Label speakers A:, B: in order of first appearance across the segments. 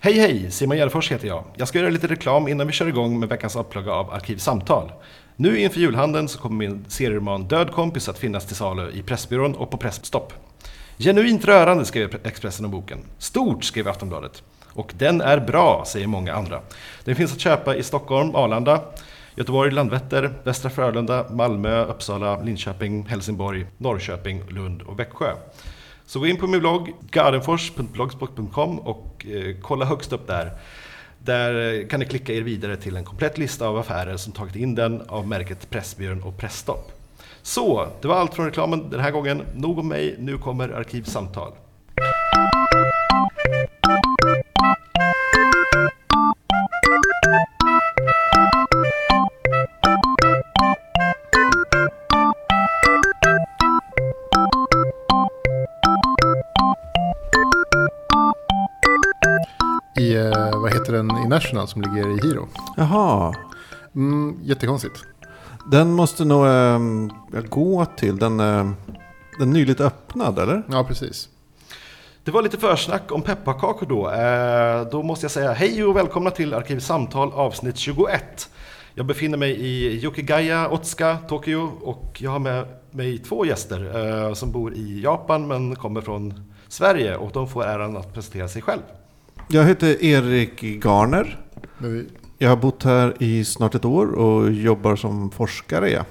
A: Hej hej! Simon Gärdenfors heter jag. Jag ska göra lite reklam innan vi kör igång med veckans upplaga av Arkivsamtal. Nu inför julhandeln så kommer min serieroman Död kompis att finnas till salu i Pressbyrån och på Pressstopp. Genuint rörande skrev Expressen om boken. Stort skrev Aftonbladet. Och den är bra, säger många andra. Den finns att köpa i Stockholm, Arlanda, Göteborg, Landvetter, Västra Frölunda, Malmö, Uppsala, Linköping, Helsingborg, Norrköping, Lund och Växjö. Så gå in på min blogg, gardenfors.blogspot.com och eh, kolla högst upp där. Där eh, kan ni klicka er vidare till en komplett lista av affärer som tagit in den av märket Pressbyrån och Pressstopp. Så, det var allt från reklamen den här gången. Nog om mig, nu kommer Arkivsamtal.
B: I, eh, vad heter den, i National som ligger i Hiro.
C: Jaha.
B: Mm, jättekonstigt.
C: Den måste nog ehm, jag gå till. Den, ehm, den nyligt öppnad, eller?
B: Ja, precis.
A: Det var lite försnack om pepparkakor då. Eh, då måste jag säga hej och välkomna till Arkivsamtal avsnitt 21. Jag befinner mig i Yokigaya, Otsuka, Tokyo och jag har med mig två gäster eh, som bor i Japan men kommer från Sverige och de får äran att presentera sig själv.
C: Jag heter Erik Garner.
B: Men vi,
C: Jag har bott här i snart ett år och jobbar som forskare. ja.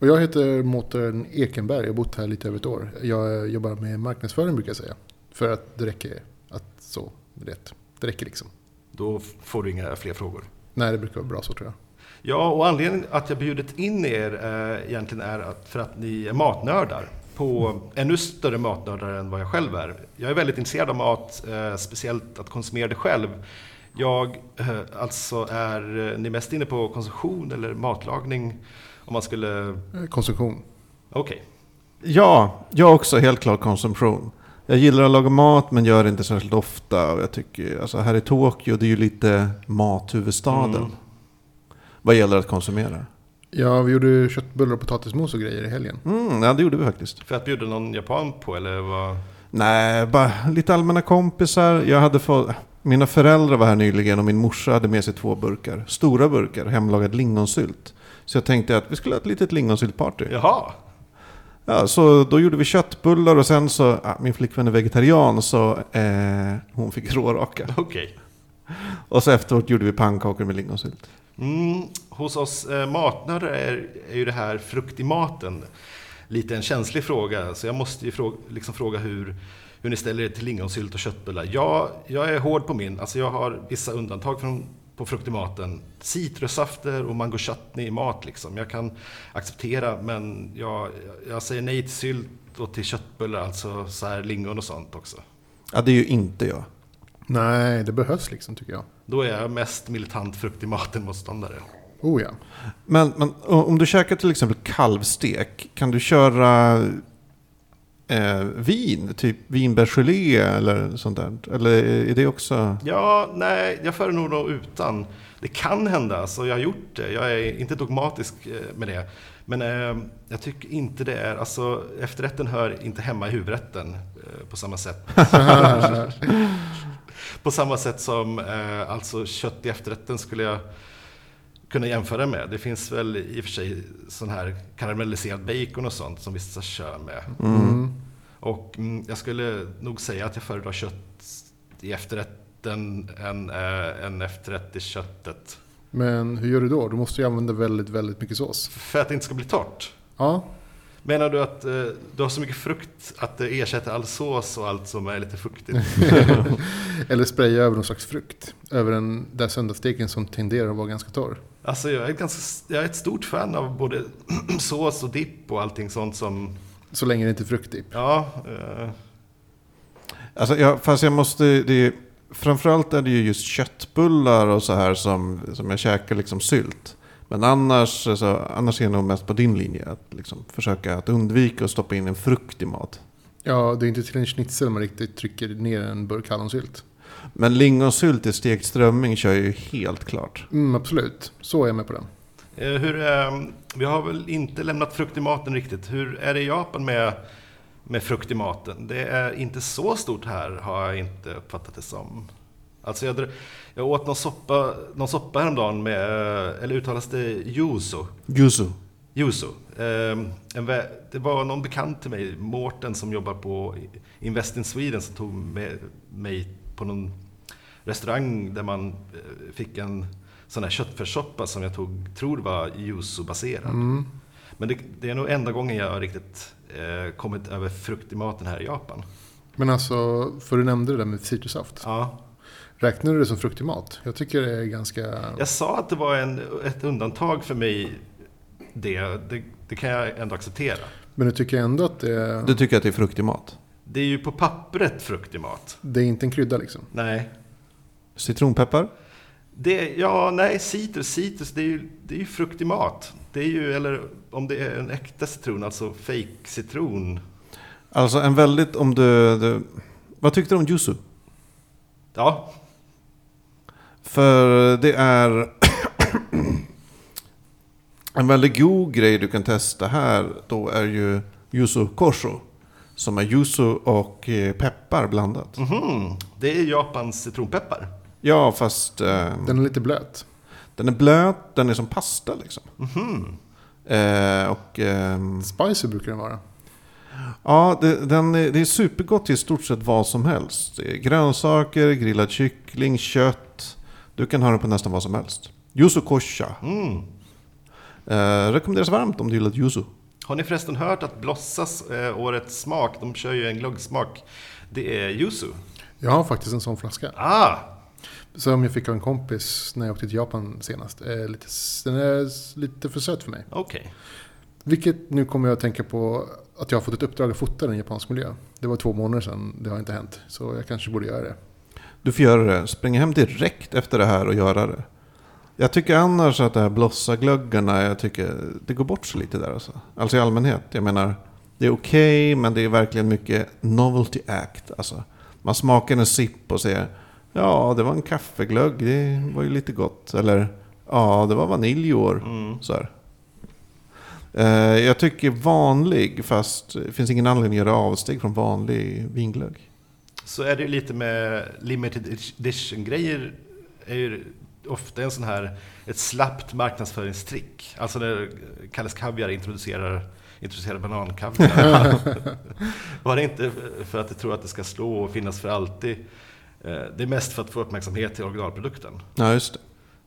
B: och jag heter Mårten Ekenberg. Jag har bott här lite över ett år. Jag eh, jobbar med marknadsföring brukar jag säga. För att det räcker att så, rätt. Det räcker liksom.
A: Då får du inga fler frågor.
B: Nej, det brukar vara bra så tror jag.
A: Ja, och anledningen att jag bjudit in er eh, egentligen är att för att ni är matnördar. På ännu större matnördar än vad jag själv är. Jag är väldigt intresserad av mat, eh, speciellt att konsumera det själv. Jag, eh, alltså, är eh, ni mest inne på konsumtion eller matlagning? Om man skulle...
B: Eh, Konsumtion.
A: Okej.
C: Ja, jag också. Helt klart konsumtion. Jag gillar att laga mat men gör det inte särskilt ofta. Och Jag tycker, alltså här i Tokyo, det är ju lite mathuvudstaden.
A: Mm.
C: Vad gäller att konsumera.
B: Ja, vi gjorde köttbullar och potatismos och grejer i helgen.
C: Mm, ja, det gjorde vi faktiskt.
A: För att bjuda någon japan på, eller vad?
C: Nej, bara lite allmänna kompisar. Jag hade fått, mina föräldrar var här nyligen och min morsa hade med sig två burkar. Stora burkar, hemlagad lingonsylt. Så jag tänkte att vi skulle ha ett litet lingonsyltparty. Ja.
A: Jaha!
C: så då gjorde vi köttbullar och sen så, ja, min flickvän är vegetarian så eh, hon fick råraka.
A: Okej.
C: Och så efteråt gjorde vi pannkakor med lingonsylt.
A: Mm, hos oss eh, matnördar är, är ju det här frukt i maten lite en känslig fråga. Så jag måste ju fråga, liksom fråga hur, hur ni ställer er till lingonsylt och köttbullar. Jag, jag är hård på min. Alltså jag har vissa undantag från, på frukt i maten. Citrussafter och mango chutney i mat. Liksom. Jag kan acceptera, men jag, jag säger nej till sylt och till köttbullar. Alltså så här lingon och sånt också.
C: Ja, det är ju inte jag.
B: Nej, det behövs liksom tycker jag.
A: Då är jag mest militant frukt i maten-motståndare.
B: Oh ja.
C: Men, men o- om du käkar till exempel kalvstek, kan du köra eh, vin? Typ vinbärsgelé eller sånt där? Eller är det också...
A: Ja, nej, jag föredrar nog utan. Det kan hända, så jag har gjort det. Jag är inte dogmatisk eh, med det. Men eh, jag tycker inte det är, alltså efterrätten hör inte hemma i huvudrätten eh, på samma sätt.
B: Mm.
A: på samma sätt som eh, alltså kött i efterrätten skulle jag kunna jämföra med. Det finns väl i och för sig sån här karamelliserad bacon och sånt som vissa kör med.
B: Mm.
A: Och mm, jag skulle nog säga att jag föredrar kött i efterrätten än, eh, än efterrätt i köttet.
B: Men hur gör du då? Du måste ju använda väldigt, väldigt mycket sås.
A: För att det inte ska bli torrt.
B: Ja,
A: Menar du att eh, du har så mycket frukt att det ersätter all sås och allt som är lite fuktigt?
B: Mm. Eller spraya över någon slags frukt. Över den där söndagssteken som tenderar att vara ganska torr.
A: Alltså jag är, ganska, jag är ett stort fan av både sås och dipp och allting sånt som...
B: Så länge det inte är fruktdipp.
A: Ja, eh,
C: Alltså, jag, fast jag måste... Det är, framförallt är det ju just köttbullar och så här som, som jag käkar liksom sylt. Men annars, alltså, annars är jag nog mest på din linje. Att liksom försöka att undvika att stoppa in en frukt i mat.
B: Ja, det är inte till en schnitzel man riktigt trycker ner en burk hallonsylt.
C: Men lingonsylt i stekt strömming kör jag ju helt klart.
B: Mm, absolut. Så är jag med på den.
A: eh, hur, eh, vi har väl inte lämnat frukt i maten riktigt. Hur är det i Japan med, med frukt i maten? Det är inte så stort här har jag inte uppfattat det som. Alltså jag, dr- jag åt någon soppa, någon soppa häromdagen med, eh, eller uttalas det yuzu?
C: Yuzu.
A: Yuzu. Ehm, en vä- det var någon bekant till mig, Mårten, som jobbar på Invest in Sweden, som tog med mig på någon restaurang där man eh, fick en sån här köttfärssoppa som jag tog, tror var yuzu-baserad.
B: Mm.
A: Men det, det är nog enda gången jag har riktigt eh, kommit över frukt i maten här i Japan.
B: Men alltså, för du nämnde det där med citrussaft.
A: Ja.
B: Räknar du det som frukt i mat? Jag tycker det är ganska...
A: Jag sa att det var en, ett undantag för mig, det, det, det kan jag ändå acceptera.
B: Men jag tycker ändå att det,
C: Du tycker att det är fruktig mat?
A: Det är ju på pappret frukt i mat.
B: det är inte en krydda liksom.
A: Nej,
C: Citronpeppar?
A: Det, ja, nej, citrus, citrus, det är ju, det är ju frukt i mat. Det är ju, eller om det är en äkta citron, alltså fake citron
C: Alltså en väldigt, om du, du... Vad tyckte du om Yuzu?
A: Ja,
C: För det är en väldigt god grej du kan testa här då är ju yuzu korso. Som är yuzu och eh, peppar blandat.
A: mhm, det är Japans citronpeppar.
C: Ja, fast eh,
B: Den är lite blöt.
C: den är blöt, den är som pasta liksom.
A: Mhm.
C: Eh, och ehm,
B: Spicy brukar den vara.
C: ja, det, den är, det är supergott till i stort sett vad som helst. Det är grönsaker, grillad kyckling, kött. Du kan ha den på nästan vad som helst. Yuzu kosha.
A: Mm.
C: Eh, rekommenderas varmt om du gillar yuzu.
A: Har ni förresten hört att Blossas, eh, årets smak, de kör ju en glöggsmak, det är yuzu.
B: Jag har faktiskt en sån flaska.
A: Ah,
B: Som jag fick av en kompis när jag åkte till Japan senast. Eh, lite, s- den är s- lite för söt för mig.
A: okej.
B: Vilket nu kommer jag att tänka på att jag har fått ett uppdrag att fota den i japansk miljö. Det var två månader sedan, det har inte hänt. Så jag kanske borde göra det.
C: Du får göra det. Spring hem direkt efter det här och göra det. Jag tycker annars att det här blossaglöggarna, jag tycker det går bort sig lite där alltså. Alltså i allmänhet. Jag menar, det är okej men det är verkligen mycket novelty act. Alltså, man smakar en sipp och säger ja det var en kaffeglögg, det var ju lite gott. Eller ja det var vanilj i år.
A: Mm.
C: Så här. Eh, Jag tycker vanlig, fast det finns ingen anledning att göra avsteg från vanlig vinglögg.
A: Så är det ju lite med limited edition-grejer, är ju ofta en sån här, ett slappt marknadsföringstrick. Alltså när Kalles Kaviar introducerar, introducerar banankaviar. Var det inte för att de tror att det ska slå och finnas för alltid. Eh, Det är mest för att få uppmärksamhet till originalprodukten.
C: Ja, just det.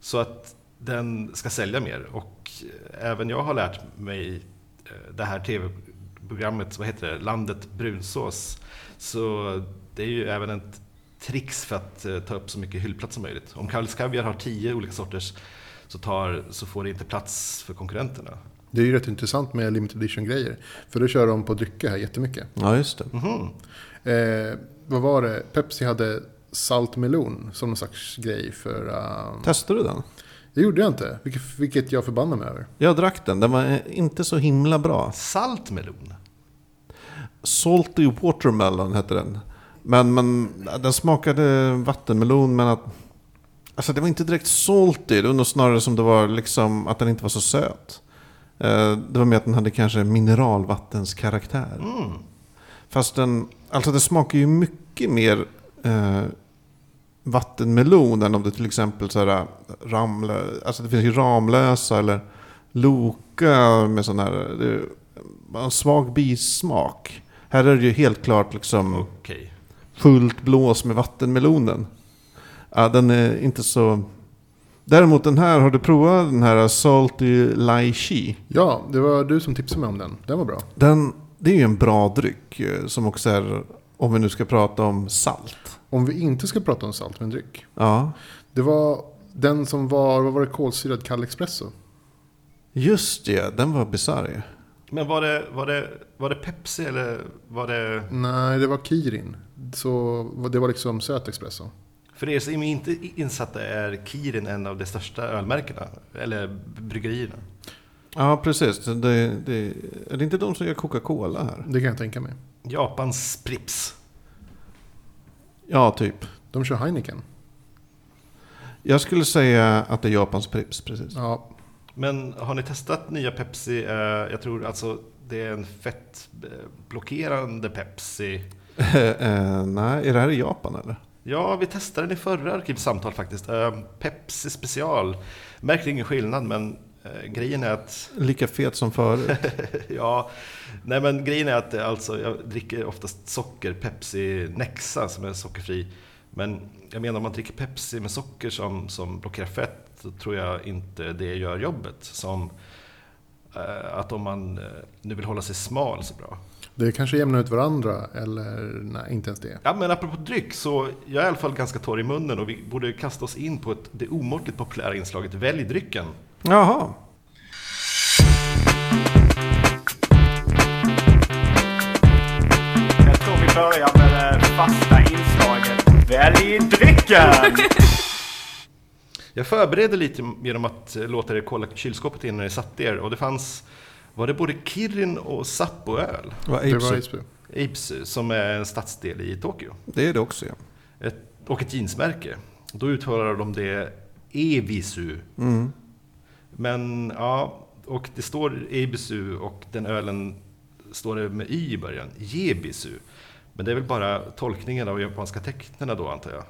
A: Så att den ska sälja mer. Och eh, även jag har lärt mig eh, det här tv-programmet, vad heter det, Landet brunsås. Så det är ju även ett trix för att eh, ta upp så mycket hyllplats som möjligt. Om Kalles Kaviar har tio olika sorters så, tar, så får det inte plats för konkurrenterna.
B: Det är ju rätt intressant med limited edition-grejer. För då kör de på drycker här jättemycket.
C: Ja, just det.
A: Mhm.
B: Eh, vad var det? Pepsi hade saltmelon som någon slags grej för... ehm,
C: Testade du den?
B: det gjorde jag inte, vilket, vilket jag förbannar mig över.
C: Jag drack den, den var inte så himla bra.
A: Saltmelon?
C: Salty Watermelon hette den. Men, men den smakade vattenmelon men att... Alltså det var inte direkt salty, det var nog snarare som det var liksom att den inte var så söt. Eh, Det var mer att den hade kanske mineralvattenskaraktär.
A: Mm.
C: Fast den, alltså det smakar ju mycket mer eh, vattenmelon än om det till exempel så här eh, ramlö, alltså det finns ju Ramlösa eller Loka med sån här, det är en svag bismak. Här är det ju helt klart liksom
A: Okej.
C: fullt blås med vattenmelonen. Ja, den är inte så... Däremot den här, har du provat den här Salty Lychee?
B: Ja, det var du som tipsade mig om den. Den var bra.
C: Den, det är ju en bra dryck eh, som också är, om vi nu ska prata om salt.
B: Om vi inte ska prata om salt med en dryck.
C: Ja,
B: Det var den som var, vad var det, kolsyrad kall espresso?
C: just det. Den var bisarr ju.
A: Men var det, var, det, var det Pepsi eller var det...
B: Nej, det var Kirin. Så det var liksom söt espresso.
A: För er som inte är insatta är Kirin en av de största ölmärkena, eller bryggerierna.
C: Ja, precis. Det, det, är det inte de som gör Coca-Cola här?
B: Det kan jag tänka mig.
A: Japans Prips.
C: Ja, typ.
B: De kör Heineken.
C: Jag skulle säga att det är Japans Pripps, precis.
B: Ja,
A: Men har ni testat nya Pepsi? Eh, Jag tror alltså det är en fettblockerande Pepsi.
C: Eh, eh, nej, är det här i Japan eller?
A: Ja, vi testade den i förra Arkivsamtal faktiskt. Eh, Pepsi special. Märkte ingen skillnad, men eh, grejen är att...
C: Lika fet som förut.
A: ja, nej men grejen är att eh, alltså, jag dricker oftast socker, Pepsi Nexa som är sockerfri. Men jag menar om man dricker Pepsi med socker som, som blockerar fett, så tror jag inte det gör jobbet. Som eh, att om man eh, nu vill hålla sig smal så bra.
B: Det kanske jämnar ut varandra, eller nej, inte ens det.
A: Ja, men apropå dryck så jag är i alla fall ganska torr i munnen och vi borde kasta oss in på ett, det omåttligt populära inslaget Välj drycken.
C: Jaha.
D: Jag tror vi börjar med det fasta inslaget. Välj drycken!
A: Jag förberedde lite genom att eh, låta er kolla kylskåpet innan ni satte er och det fanns, var det både Kirin och Sappoöl,
C: Vad
B: Det
C: apes-
B: var Ipsy.
A: Ibsu, som är en stadsdel i Tokyo,
C: Det är det också ja.
A: ett, och ett jeansmärke. Då uttalar de det Evisu. Men ja, och det står Ebisu och den ölen står det med y i början, Jebisu. Men det är väl bara tolkningen av japanska tecknena då antar jag.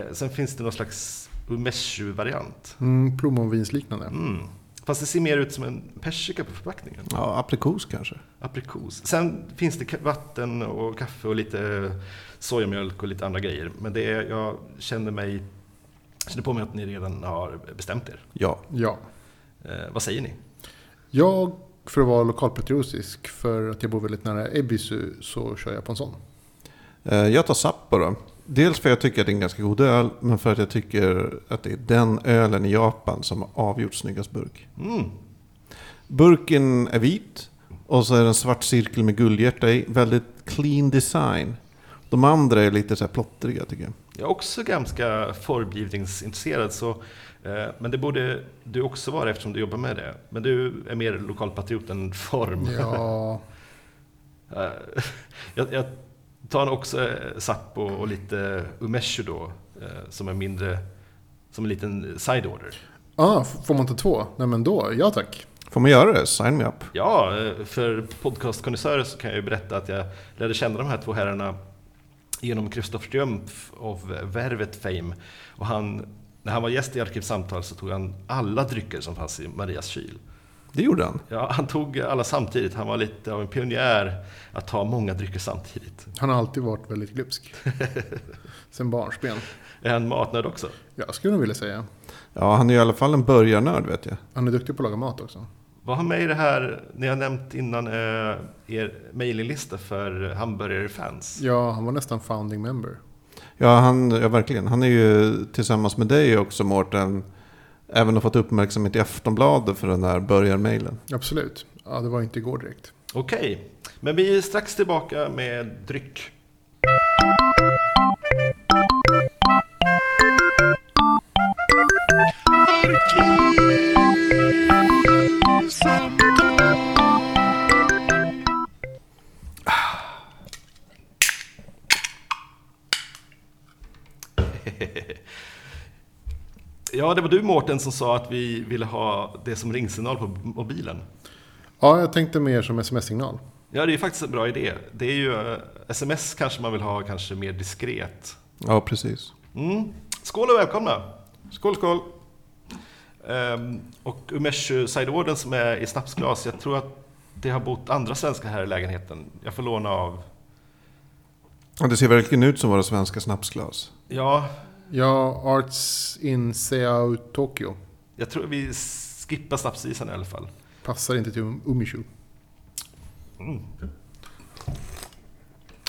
A: Eh, sen finns det någon slags umeshu-variant.
B: Mm, plommonvinsliknande.
A: Mm. Fast det ser mer ut som en persika på förpackningen.
C: Ja, aprikos kanske.
A: Aprikos. Sen finns det ka- vatten och kaffe och lite sojamjölk och lite andra grejer. Men det är, jag känner mig... Känner på mig att ni redan har bestämt er.
C: Ja.
B: Ja.
A: Eh, vad säger ni?
B: Jag, för att vara lokalpatriotisk, för att jag bor väldigt nära Ebisu, så kör jag på en sån.
C: Eh, Jag tar Sappo då. Dels för att jag tycker att det är en ganska god öl, men för att jag tycker att det är den ölen i Japan som har avgjort snyggast burk.
A: Mm.
C: Burken är vit och så är det en svart cirkel med guldhjärta i. Väldigt clean design. De andra är lite så här plottriga tycker jag.
A: Jag är också ganska formgivningsintresserad, så, eh, men det borde du också vara eftersom du jobbar med det. Men du är mer lokalpatriot än form.
B: Ja,
A: Eh, jag, jag tar också eh, Sappo och lite Umeshu då, eh, som är mindre, som en liten side order.
B: ah, f- får man ta två? Nej men då, ja tack.
C: Får man göra det? Sign me up.
A: Ja, eh, för podcastkonnässörer så kan jag ju berätta att jag lärde känna de här två herrarna genom Kristoffer Triumf av Värvet Fame. Och han, när han var gäst i Arkivsamtal så tog han alla drycker som fanns i Marias kyl.
C: Det gjorde han.
A: Ja, han tog alla samtidigt. Han var lite av en pionjär att ta många drycker samtidigt.
B: Han har alltid varit väldigt glupsk. Sen barnsben.
A: Är han matnörd också?
B: Jag skulle nog vilja säga.
C: Ja, han är i alla fall en börjarnörd vet jag.
B: Han är duktig på att laga mat också.
A: Vad har med i det här, ni har nämnt innan, eh, er mailinglista för hamburgerfans?
B: Ja, han var nästan founding member.
C: Ja, han, ja, verkligen. Han är ju tillsammans med dig också Mårten, även har fått uppmärksamhet i Aftonbladet för den här börjarmailen.
B: Absolut. Ja, det var inte igår direkt.
A: Okej, men vi är strax tillbaka med dryck. Ja, det var du Mårten som sa att vi ville ha det som ringsignal på mobilen.
B: Ja, jag tänkte mer som sms-signal.
A: Ja, det är faktiskt en bra idé. Det är ju eh, sms kanske man vill ha kanske mer diskret.
C: Ja, precis.
A: Mm. Skål och välkomna!
C: Skål, skål.
A: Ehm, och Umeshu Sideorden som är i snapsglas, jag tror att det har bott andra svenskar här i lägenheten. Jag får låna av...
C: Ja, det ser verkligen ut som våra svenska snapsglas.
A: Ja,
B: Ja, Arts in Seau Tokyo.
A: jag tror vi skippar snapsisen i alla fall.
B: Passar inte till Um- Umishu.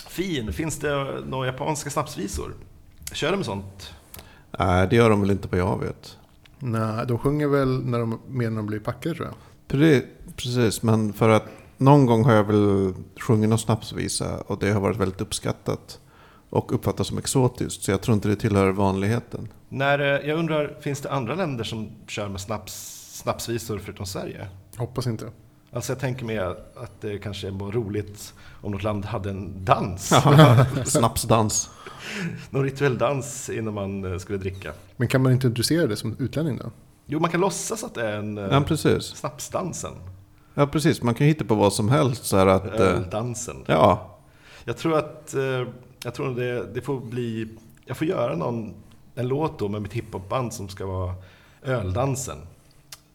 A: Fin, finns det några japanska snapsvisor? Kör de med sånt?
C: Nej, det gör de väl inte vad jag vet.
B: Nej, de sjunger väl när de, mer när de blir packade tror jag.
C: Pre- Precis, men för att någon gång har jag väl sjungit någon snapsvisa och det har varit väldigt uppskattat och uppfattas som exotiskt. Så jag tror inte det tillhör vanligheten.
A: När, eh, jag undrar, finns det andra länder som kör med snaps, snapsvisor förutom Sverige?
B: Hoppas inte.
A: Alltså jag tänker mig att det kanske vore roligt om något land hade en dans.
C: Snapsdans.
A: Någon rituell dans innan man eh, skulle dricka.
B: Men kan man inte introducera det som utlänning då?
A: Jo, man kan låtsas att det är en
C: Ja,
A: eh,
C: precis.
A: snapsdansen.
C: Ja, precis. Man kan hitta på vad som helst. Så här att, eh,
A: Öldansen.
C: ja,
A: Jag tror att eh, jag tror det, det får bli jag får göra någon, en låt då med mitt hiphopband som ska vara öldansen.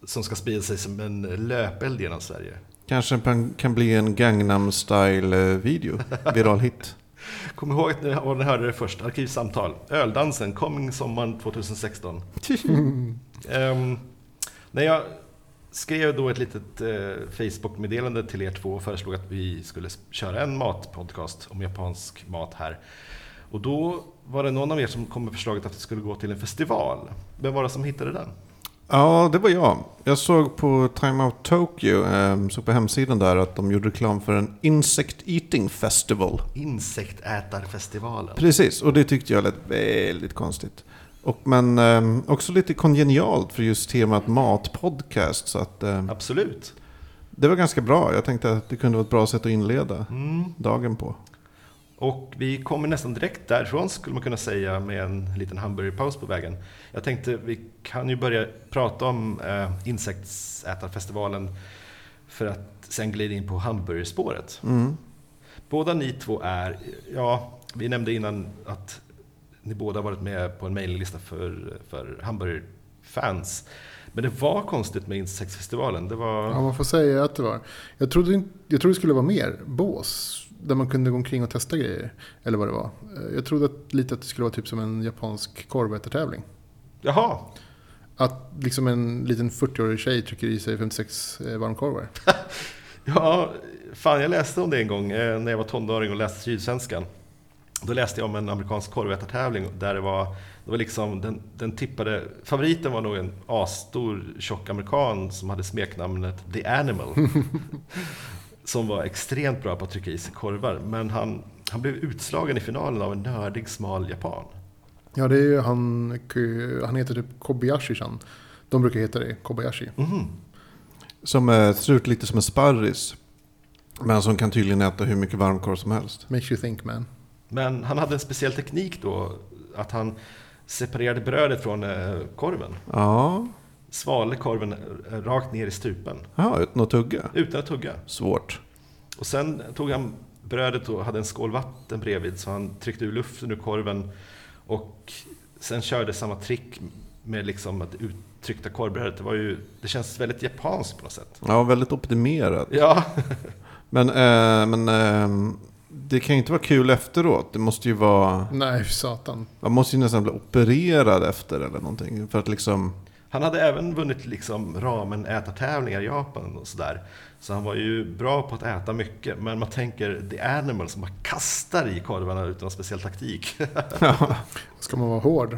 A: Som ska sprida sig som en löpeld genom Sverige.
C: Kanske pan- kan bli en Gangnam Style-video. Viral hit.
A: Kom ihåg att ni, och ni hörde det först, Arkivsamtal. Öldansen, coming sommaren 2016. Ehm, när jag skrev då ett litet eh, Facebook-meddelande till er två och föreslog att vi skulle s- köra en matpodcast om japansk mat här. Och då var det någon av er som kom med förslaget att vi skulle gå till en festival. Vem var det som hittade den?
C: Ja, det var jag. Jag såg på Time Out Tokyo, eh, såg på hemsidan där att de gjorde reklam för en Insect Eating Festival.
A: Insektätarfestivalen.
C: Precis, och det tyckte jag lät väldigt konstigt. Och, men eh, också lite kongenialt för just temat matpodcast. Så att, eh,
A: Absolut.
C: det var ganska bra. Jag tänkte att det kunde vara ett bra sätt att inleda
A: Mm.
C: dagen på.
A: Och vi kommer nästan direkt därifrån skulle man kunna säga med en liten hamburgerpaus på vägen. Jag tänkte vi kan ju börja prata om eh, insektsätarfestivalen för att sen glida in på hamburgerspåret.
C: Mm.
A: Båda ni två är, ja, vi nämnde innan att ni båda varit med på en mejllista för, för hamburgerfans. Men det var konstigt med insektsfestivalen. Det var...
B: Ja, man får säga att det var. Jag trodde, inte- jag trodde det skulle vara mer bås. Där man kunde gå omkring och testa grejer. Eller vad det var. Eh, Jag trodde att, lite att det skulle vara typ som en japansk korvätartävling.
A: Jaha,
B: Att liksom en liten 40-årig tjej trycker i sig 56 eh, varmkorvar.
A: Ja, fan jag läste om det en gång eh, när jag var tonåring och läste Sydsvenskan. Då läste jag om en amerikansk korvätartävling där det var, det var liksom, den, den tippade, favoriten var nog en asstor tjock amerikan som hade smeknamnet The Animal. som var extremt bra på att trycka i sig korvar, men han, han blev utslagen i finalen av en nördig smal japan.
B: Ja, det är ju han, han heter typ Kobayashi-chan. De brukar heta det, Kobayashi.
A: Mhm.
C: Som eh, ser ut lite som en sparris. Men som kan tydligen äta hur mycket varmkorv som helst.
B: Makes you think man.
A: Men han hade en speciell teknik då, att han separerade brödet från eh, korven.
C: Ja,
A: svalde korven eh, rakt ner i strupen
C: ja utan att tugga.
A: utan att tugga.
C: Svårt.
A: Och sen tog han brödet och hade en skål vatten bredvid så han tryckte ur luften ur korven och sen körde samma trick med liksom att uttryckta korvbrödet. Det, var ju, det känns väldigt japanskt på något sätt.
C: Ja, väldigt optimerat.
A: Ja,
C: Men, eh, men eh, det kan ju inte vara kul efteråt. Det måste ju vara...
B: Nej, för satan.
C: Man måste ju nästan bli opererad efter eller någonting. För att liksom...
A: han hade även vunnit liksom ramen ätartävlingar i Japan och sådär. Så han var ju bra på att äta mycket. Men man tänker The Animal som bara kastar i korvarna utan någon speciell taktik.
B: Ska man vara hård?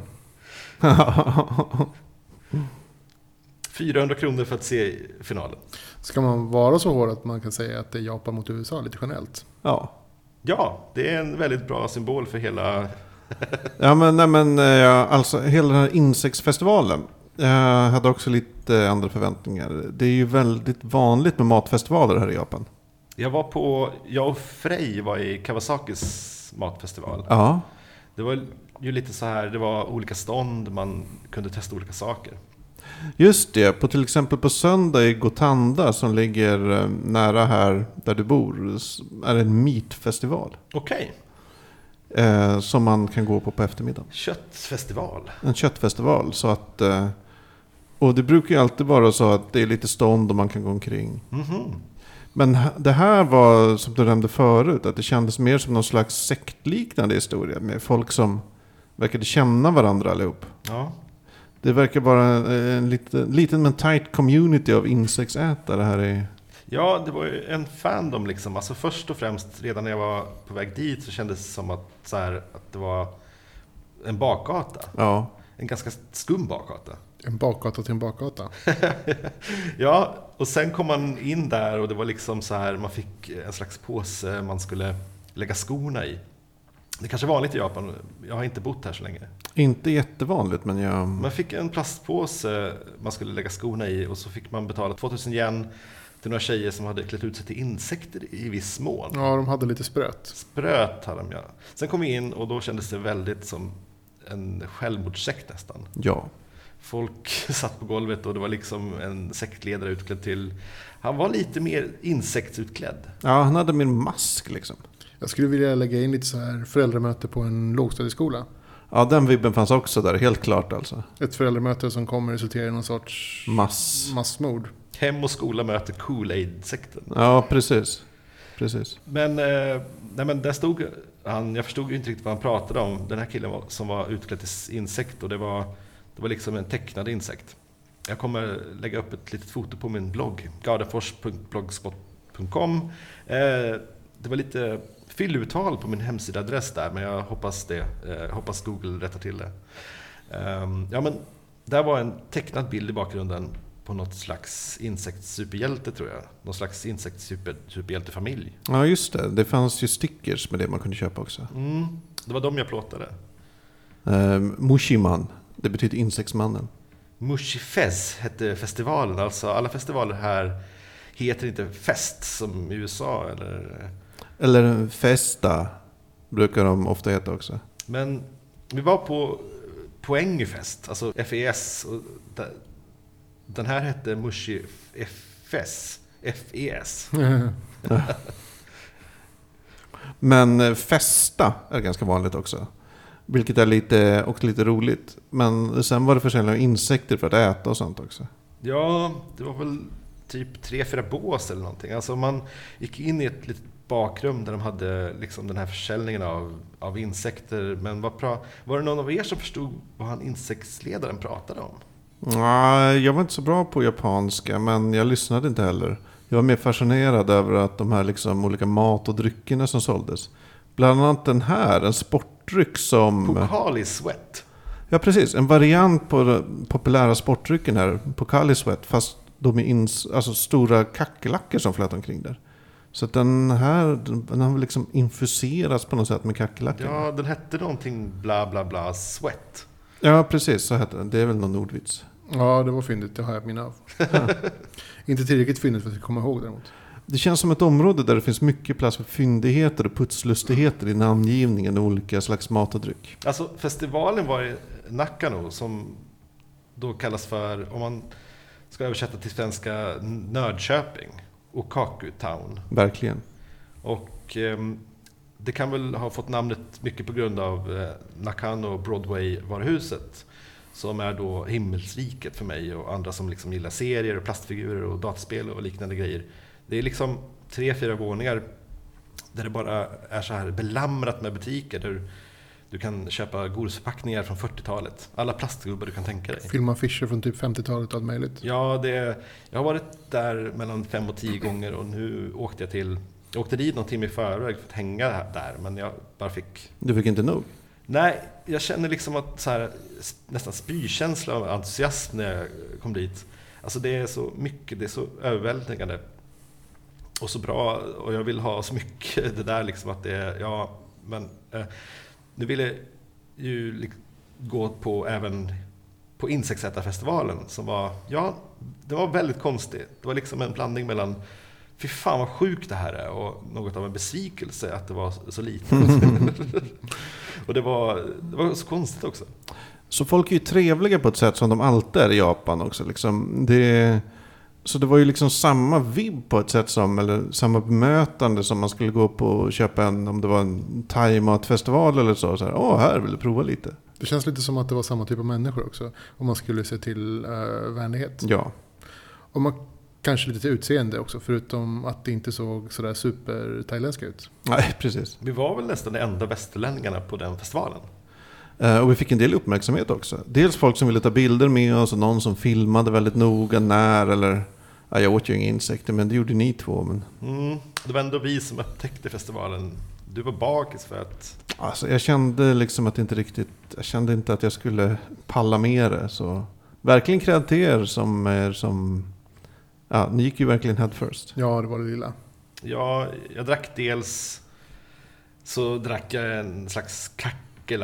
A: 400 kronor för att se finalen.
B: Ska man vara så hård att man kan säga att det är Japan mot USA lite generellt?
C: ja.
A: Ja, det är en väldigt bra symbol för hela...
C: Ja men, nej, men eh, alltså hela den här insektsfestivalen. Jag hade också lite eh, andra förväntningar. Det är ju väldigt vanligt med matfestivaler här i Japan.
A: Jag var på... Jag och Frej var i Kawasakis matfestival.
C: Ja.
A: Det var ju lite så här, det var olika stånd, man kunde testa olika saker.
C: Just det, på till exempel på söndag i Gotanda som ligger eh, nära här där du bor s- är det en meatfestival.
A: Okej,
C: Eh, som man kan gå på på eftermiddagen.
A: köttfestival.
C: En köttfestival. Så att, eh, och det brukar ju alltid vara så att det är lite stånd och man kan gå omkring.
A: Mhm.
C: Men h- det här var, som du nämnde förut, att det kändes mer som någon slags sektliknande historia med folk som verkade känna varandra allihop.
A: Ja.
C: Det verkar vara en, en liten, liten men tight community av insektsätare här i...
A: ja, det var ju en fandom liksom. Alltså först och främst, redan när jag var på väg dit så kändes det som att, så här, att det var en bakgata.
C: Ja,
A: En ganska skum bakgata.
B: En bakgata till en bakgata.
A: Ja, och sen kom man in där och det var liksom så här, man fick en slags påse man skulle lägga skorna i. Det kanske är vanligt i Japan, jag har inte bott här så länge.
C: inte jättevanligt men jag...
A: Man fick en plastpåse man skulle lägga skorna i och så fick man betala 2000 yen till några tjejer som hade klätt ut sig till insekter i viss mån.
B: Ja, de hade lite spröt.
A: Spröt hade de ja. Sen kom vi in och då kändes det väldigt som en självmordssekt nästan.
C: Ja.
A: Folk satt på golvet och det var liksom en sektledare utklädd till... Han var lite mer insektsutklädd.
C: ja, han hade min mask liksom.
B: Jag skulle vilja lägga in lite så här föräldramöte på en lågstadieskola.
C: Ja, den vibben fanns också där, helt klart alltså.
B: Ett föräldramöte som kommer resultera i någon sorts
C: Mass.
B: massmord.
A: Hem och skola möter Kool-Aid-sekten.
C: Ja, precis. Precis.
A: Men, eh, nej men där stod han, jag förstod ju inte riktigt vad han pratade om. Den här killen var, som var utklädd till insekt och det var, det var liksom en tecknad insekt. Jag kommer lägga upp ett litet foto på min blogg, gardenfors.blogspot.com. Eh, det var lite fylluttal på min hemsidaadress där, men jag hoppas, det, eh, hoppas Google rättar till det. Ehm, ja, men där var en tecknad bild i bakgrunden på något slags insektssuperhjälte tror jag. Någon slags insektssuperhjältefamilj.
C: Ja, just det. Det fanns ju stickers med det man kunde köpa också.
A: Mm, det var de jag plåtade.
C: Ehm, Mushiman. Det betyder insektsmannen.
A: Mushifez hette festivalen, alltså alla festivaler här heter inte fest som i USA. Eller...
C: Eller Festa brukar de ofta heta också.
A: Men vi var på Poängfest, alltså FES. och där- Den här hette E Mushifes, FES.
C: Men eh, Festa är ganska vanligt också. Vilket är lite, också lite roligt. Men sen var det försäljning av insekter för att äta och sånt också.
A: Ja, det var väl typ tre, fyra bås eller någonting. Alltså man gick in i ett litet bakrum där de hade liksom den här försäljningen av, av insekter. Men vad pra- var det någon av er som förstod vad han insektsledaren pratade om?
C: Nej, jag var inte så bra på japanska, men jag lyssnade inte heller. Jag var mer fascinerad över att de här liksom olika mat och dryckerna som såldes. Bland annat den här, en sportdryck som...
A: Pokali Sweat.
C: Ja, precis. En variant på den populära sportdrycken här, Pocali Sweat, fast de är ins- alltså stora kackerlackor som flöt omkring där. Så att den här den har väl liksom infuserats på något sätt med kackerlackor. Ja.
A: Ja, den hette någonting bla bla bla Sweat.
C: precis. Så heter den. Det är väl någon ordvits.
B: Ja, det var fyndigt. Det har jag minne av. Inte tillräckligt fyndigt för att jag ska komma ihåg däremot.
C: Det känns som ett område där det finns mycket plats för fyndigheter och putslustigheter i namngivningen och olika slags mat och dryck.
A: Alltså festivalen var i Nakano som då kallas för, om man ska översätta till svenska, Nördköping. Okaku Town.
C: Verkligen.
A: Och ehm, det kan väl ha fått namnet mycket på grund av eh, Nakano Broadway-varuhuset. Som är då himmelsriket för mig och andra som liksom gillar serier och plastfigurer och dataspel och liknande grejer. Det är liksom tre, fyra våningar där det bara är så här belamrat med butiker. Där du kan köpa godisförpackningar från 40-talet. Alla plastgubbar du kan tänka dig.
B: Filma affischer från typ 50-talet och allt möjligt.
A: Ja, det, jag har varit där mellan fem och tio gånger och nu åkte jag till... Jag åkte dit någon timme i förväg för att hänga här- där, men jag bara fick...
C: Du fick inte nog?
A: Nej, jag känner liksom att så här, s- nästan spykänsla av entusiasm när jag kom dit. Alltså det är så mycket, det är så överväldigande. Och så bra, och jag vill ha så mycket det där liksom att det är, ja, men... Eh, nu vill jag ju lik- gå på även på Insektsätarfestivalen som var, ja, det var väldigt konstigt. Det var liksom en blandning mellan Fy fan vad sjukt det här är och något av en besvikelse att det var så- så lite. och det var, det var så konstigt också.
C: Så folk är ju trevliga på ett sätt som de alltid är i Japan också. Liksom. Det, så det var ju liksom samma vibb på ett sätt som, eller samma bemötande som man skulle gå på och köpa en, om det var en thaimatfestival eller så. så här, Åh, här vill du prova lite?
B: Det känns lite som att det var samma typ av människor också. Om man skulle se till uh, vänlighet.
C: Ja,
B: Och man kanske lite till utseende också. Förutom att det inte såg sådär super-thailändska ut.
C: nej precis.
A: Vi var väl nästan de enda västerlänningarna på den festivalen.
C: Eh, Och vi fick en del uppmärksamhet också. Dels folk som ville ta bilder med oss och någon som filmade väldigt noga när eller... Ja, jag åt ju inga insekter men det gjorde ni två. Men,
A: Mm, det var ändå vi som upptäckte festivalen. Du var bakis för att...
C: alltså, jag kände liksom att inte riktigt... Jag kände inte att jag skulle palla med det. Så verkligen cred till er som är som... Ja, ni gick ju verkligen head first.
B: Ja, det var det lilla.
A: Ja, jag drack dels... Så drack jag en slags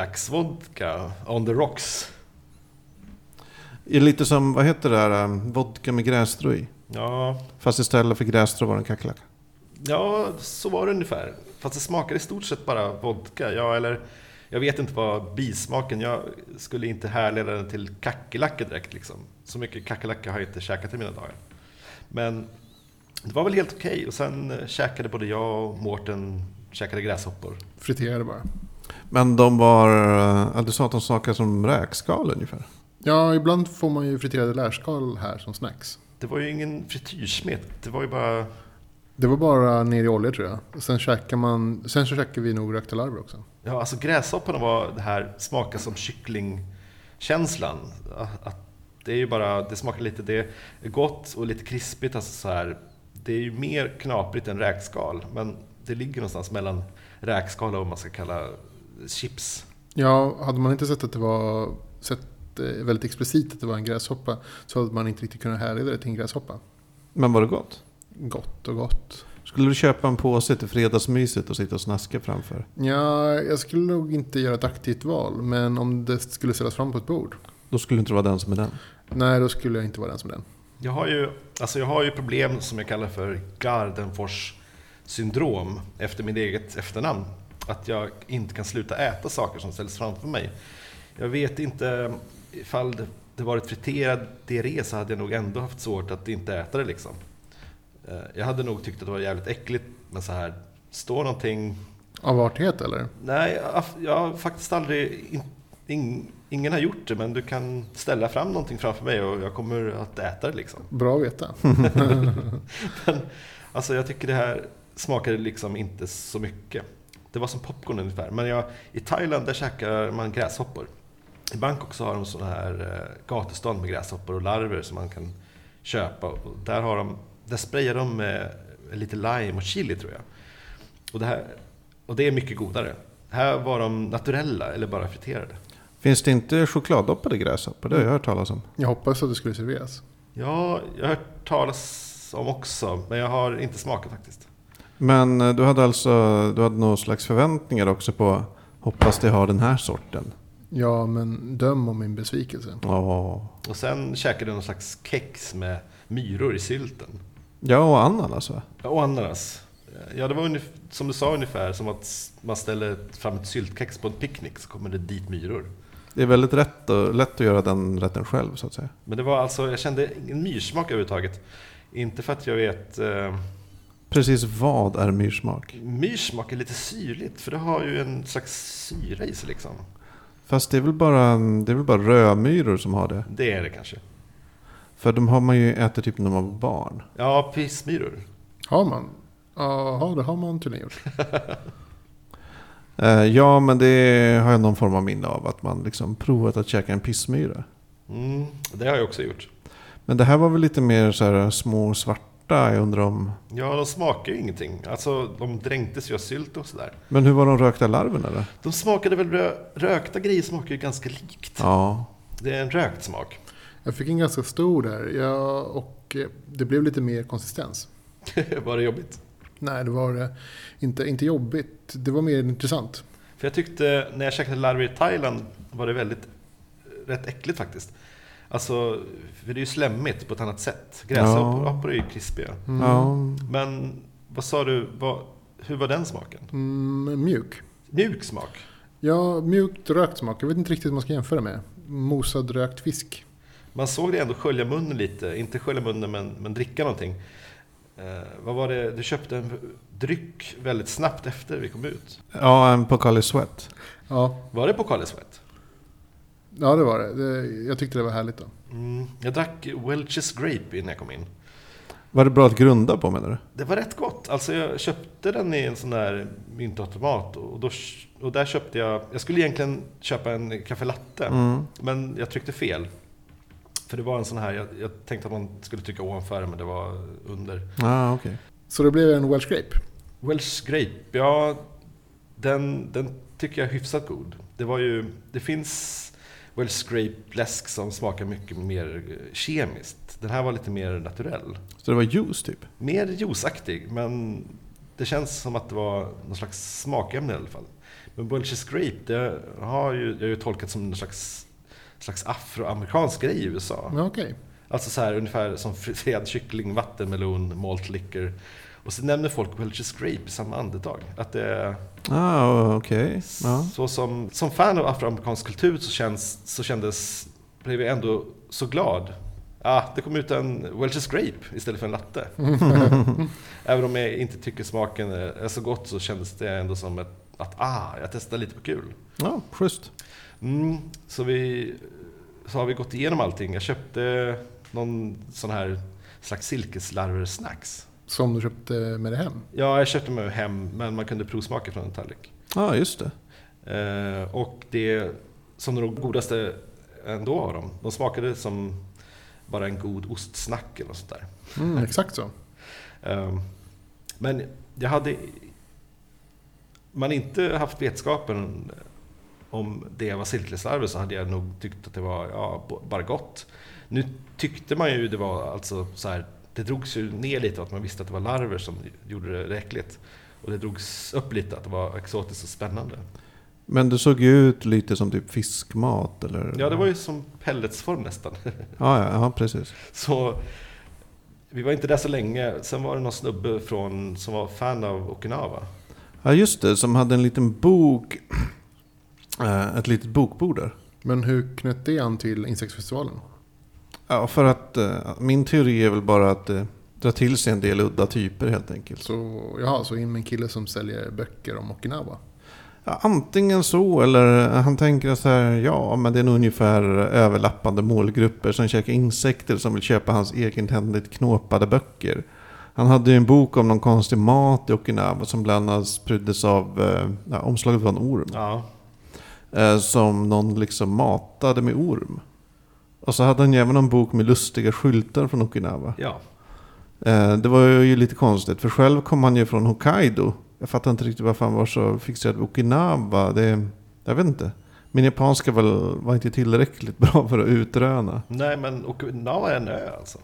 A: kackerlacksvodka, on the rocks.
C: Det är Lite som, vad heter det där, um, vodka med grässtrå i?
A: Ja,
C: Fast istället för grässtrå var det en kackerlacka.
A: Ja, så var det ungefär. Fast det smakade i stort sett bara vodka. Ja, eller jag vet inte vad bismaken... Jag skulle inte härleda den till kackerlacka direkt. Liksom. Så mycket kackerlacka har jag inte käkat i mina dagar. Men det var väl helt okej. Och sen eh, käkade både jag och Mårten käkade gräshoppor.
B: Friterade bara.
C: Men de var... eh, Du sa att de smakade som räkskal ungefär.
B: Ja, ibland får man ju friterade lärskal här som snacks.
A: Det var ju ingen frityrsmet, det var ju bara...
B: Det var bara ner i olja tror jag. Sen käkar man... Sen så käkar vi nog rökta larver också.
A: Ja, alltså gräshopporna var det här smaka som kycklingkänslan. Att- att Det är ju bara, det smakar lite, det är gott och lite krispigt. Alltså så här, det är ju mer knaprigt än räkskal, men det ligger någonstans mellan räkskal och vad man ska kalla chips.
B: Ja, hade man inte sett att det var... Sett eh, väldigt explicit att det var en gräshoppa så hade man inte riktigt kunnat härleda det till en gräshoppa.
C: Men var det gott?
B: Gott och gott.
C: Skulle du köpa en påse till fredagsmyset och sitta och snaska framför?
B: Ja, jag skulle nog inte göra ett aktivt val, men om det skulle ställas fram på ett bord.
C: Då skulle du inte vara den som är den.
B: Nej, då skulle jag inte vara den som den.
A: Jag har ju, alltså jag har ju problem som jag kallar för Gardenfors syndrom efter mitt eget efternamn. Att jag inte kan sluta äta saker som ställs framför mig. Jag vet inte, ifall det- det varit friterad diarré så hade jag nog ändå haft svårt att inte äta det liksom. Eh, Jag hade nog tyckt att det var jävligt äckligt, men så här, står någonting
B: Av artighet eller?
A: Nej, jag har- jag har faktiskt aldrig... In, in, ingen har gjort det, men du kan ställa fram någonting framför mig och jag kommer att äta det liksom.
B: Bra att veta.
A: Men, alltså jag tycker det här smakade liksom inte så mycket. Det var som popcorn ungefär. Men jag, i Thailand där käkar man gräshoppor. I Bangkok så har de sådana här eh, gatustånd med gräshoppor och larver som man kan köpa. Och där, har de, där sprayar de med lite lime och chili tror jag. Och det, här, och det är mycket godare. Här var de naturella eller bara friterade.
C: Finns det inte chokladdoppade gräshoppor? Det har jag hört talas om.
B: Jag hoppas att det skulle serveras.
A: Ja, jag har hört talas om också, men jag har inte smakat faktiskt.
C: Men eh, du hade alltså du hade någon slags förväntningar också på hoppas det har den här sorten.
B: Ja, men döm om min besvikelse.
C: Åh.
A: Och sen käkade jag någon slags kex med myror i sylten.
C: Ja, och alltså. ananas va?
A: Och ananas. Ja, det var ungef- som du sa ungefär som att s- man ställer fram ett syltkex på en picknick så kommer det dit myror.
C: Det är väldigt rätt och, lätt att göra den rätten själv så att säga.
A: Men det var alltså, jag kände ingen myrsmak överhuvudtaget. Inte för att jag vet... Eh,
C: Precis vad är myrsmak?
A: myrsmak är lite syrligt, för det har ju en slags syra i sig liksom.
C: Fast det är väl bara, det är väl bara rödmyror som har det?
A: Det är det kanske.
C: För de har man ju ätit typ när man var barn.
A: Ja, pissmyror.
B: Har man? Jaha, det har man tydligen gjort.
C: Eh, ja, men det har jag någon form av minne av. Att man liksom provat att käka en pissmyra.
A: Mm, det har jag också gjort.
C: Men det här var väl lite mer så här små svarta, jag undrar om...
A: Ja, de smakar ju ingenting. Alltså, de dränktes ju av sylt och sådär.
C: Men hur var de rökta larverna då?
A: De smakade väl rö- rökta grejer smakar ju ganska likt.
C: Ja,
A: Det är en rökt smak.
B: Jag fick en ganska stor där ja, och eh, det blev lite mer konsistens.
A: Var det jobbigt?
B: Nej, det var eh, inte, inte jobbigt. Det var mer intressant.
A: För jag tyckte när jag käkade larver i Thailand var det väldigt eh, rätt äckligt faktiskt. Alltså, för det är ju slemmigt på ett annat sätt. Gräshoppor är ju krispiga.
B: Mm.
C: ja.
A: Men vad sa du, vad, hur var den smaken?
B: Mm, mjuk.
A: Mjuk smak?
B: Ja, mjukt rökt smak. Jag vet inte riktigt vad man ska jämföra med. Mosad rökt fisk.
A: Man såg det ändå skölja munnen lite, inte skölja munnen men, men dricka någonting. Eh, vad var det, du köpte en dryck väldigt snabbt efter vi kom ut.
C: ja en Pocali Sweat.
B: Ja,
A: Var det på Karl Sweat?
B: ja det var det. det. Jag tyckte det var härligt då.
A: Mm, jag drack Welch's Grape innan jag kom in.
C: Var det bra att grunda på menar du?
A: Det var rätt gott. Alltså jag köpte den i en sån där myntautomat och, då, och där köpte jag... Jag skulle egentligen köpa en kaffe latte, men jag tryckte fel. För det var en sån här, jag, jag tänkte att man skulle trycka ovanför men det var under.
C: Ja, ah, okej.
B: Så det blev en Welsh Grape.
A: Welsh Grape, ja den, den tycker jag är hyfsat god. Det var ju, det finns Welsh Grape läsk som smakar mycket mer eh, kemiskt. Den här var lite mer naturell.
C: Så det var juice typ?
A: Mer juiceaktig, men det känns som att det var någon slags smakämne i alla fall. Men Welch's Grape, det har ju, jag har ju tolkat som någon slags, slags afroamerikansk grej i USA.
B: Ja, okej.
A: Alltså så här ungefär som friterad kyckling, vattenmelon, malt liquor. Och så nämner folk Welch's Grape i samma andetag. Att det är
C: Ah, okej. Ja.
A: så som, som fan av afroamerikansk kultur så, känns, så kändes, blev jag ändå så glad. Ah, det kom ut en Welch's Grape istället för en latte. Även om jag inte tycker smaken är är så gott så kändes det ändå som ett att ah, jag testar lite på kul.
C: Ja, schysst.
A: Mm, så, vi, så har vi gått igenom allting. Jag köpte någon sån här slags silkeslarver-snacks.
B: Som du köpte med dig hem.
A: Ja, jag köpte med hem, men man kunde provsmaka från en tallrik.
C: Ja, just det.
A: Eh, och det som de godaste ändå av dem. De smakade som bara en god ostsnack eller något sånt där.
B: Mm, exakt så.
A: Ehm, Men jag hade man inte haft vetskapen om det var silkeslarver så hade jag nog tyckt att det var ja, b- bara gott. Nu tyckte man ju det var alltså så här, det drogs ju ner lite att man visste att det var larver som gjorde det äckligt. Och det drogs upp lite att det var exotiskt och spännande.
C: Men det såg ju ut lite som typ fiskmat eller? Ah,
A: Ja, det var ju som pelletsform nästan.
C: Ja, ja, ja precis.
A: Så vi var inte där så länge. Sen var det någon snubbe från, som var fan av Okinawa.
C: Ja, just det. Som hade en liten bok. eh, Ett litet bokbord där.
B: Men hur knöt det an till insektsfestivalen?
C: Ja, för att eh, min teori är väl bara att eh, dra till sig en del udda typer helt enkelt.
B: Så, jaha, så in med en kille som säljer böcker om Okinawa.
C: Ja, antingen så eller han tänker så här, ja men det är nog ungefär överlappande målgrupper som käkar insekter som vill köpa hans egenhändigt knåpade böcker. Han hade ju en bok om någon konstig mat i Okinawa som bland annat pryddes av, eh, ja, omslaget var en orm.
A: Ja.
C: eh, som någon liksom matade med orm. Och så hade han ju även en bok med lustiga skyltar från Okinawa.
A: ja.
C: Eh, Det var ju lite konstigt, för själv kom han ju från Hokkaido. Jag fattar inte riktigt varför han var så fixerad vid Okinawa. Det, jag vet inte. Min japanska var, var inte tillräckligt bra för att utröna.
A: Nej, men Okinawa är en ö alltså.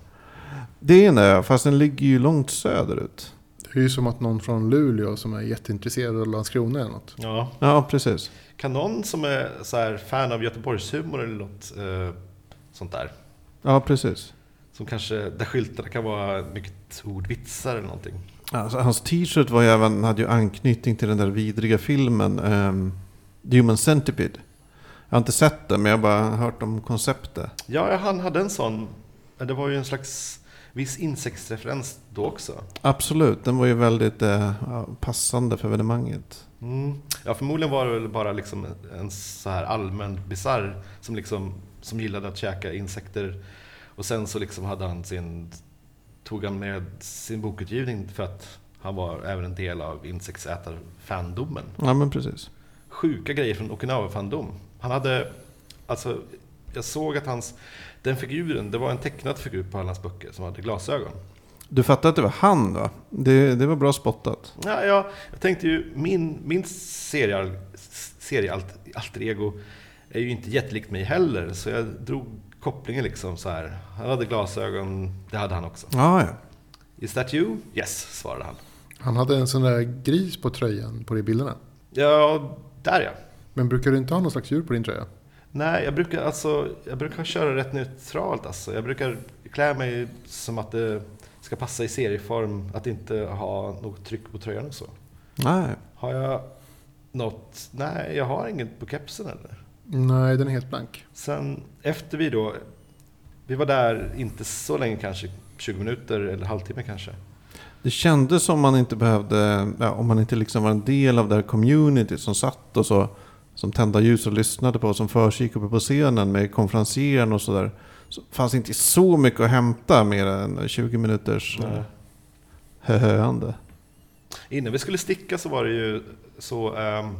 C: Det är en ö, fast den ligger ju långt söderut.
B: Det är ju som att någon från Luleå som är jätteintresserad av Landskrona eller något.
A: Ja.
C: Ja, precis.
A: Kan någon som är så här fan av Göteborgshumor eller något eh, sånt där,
C: Ja, precis.
A: som kanske, där skyltarna kan vara mycket ordvitsar eller någonting.
C: Alltså, hans t-shirt var ju även, hade ju anknytning till den där vidriga filmen ehm, The Human Centipede. Jag har inte sett den, men jag har bara hört om konceptet.
A: Ja, han hade en sån, men det var ju en slags viss insektsreferens då också.
C: Absolut, den var ju väldigt eh, ja, passande för evenemanget.
A: Mm. Ja, förmodligen var det väl bara liksom en så här allmän bizarr som, liksom, som gillade att käka insekter. Och sen så liksom hade han sin, tog han med sin bokutgivning för att han var även en del av insektsätarfandomen.
C: Ja, men precis.
A: Sjuka grejer från Okinawa-fandom. Han hade, alltså, jag såg att hans, den figuren, det var en tecknad figur på alla hans böcker som hade glasögon.
C: Du fattar att det var han va? Det, det var bra spottat.
A: Ja, ja, jag tänkte ju, min, min serial, serialt, alter ego är ju inte jättelikt mig heller, så jag drog kopplingen liksom så här. Han hade glasögon, det hade han också.
C: Ja, ja.
A: Is that you? Yes, svarade han.
B: Han hade en sån där gris på tröjan på de bilderna.
A: Ja, där ja.
B: Men brukar du inte ha någon slags djur på din tröja?
A: Nej, jag brukar alltså, jag brukar köra rätt neutralt alltså. Jag brukar klä mig som att det ska passa i serieform, att inte ha något tryck på tröjan och så.
C: Nej.
A: Har jag något? Nej, jag har inget på kepsen eller?
B: Nej, den är helt blank.
A: Sen efter vi då, vi var där inte så länge kanske, 20 minuter eller halvtimme kanske.
C: Det kändes som man inte behövde, ja, om man inte liksom var en del av det här communityt som satt och så, som tända ljus och lyssnade på, som försiggick uppe på scenen med konferencieren och sådär. Så fanns inte så mycket att hämta mer än 20 minuters eh, höhöande.
A: Innan vi skulle sticka så var det ju så, ehm,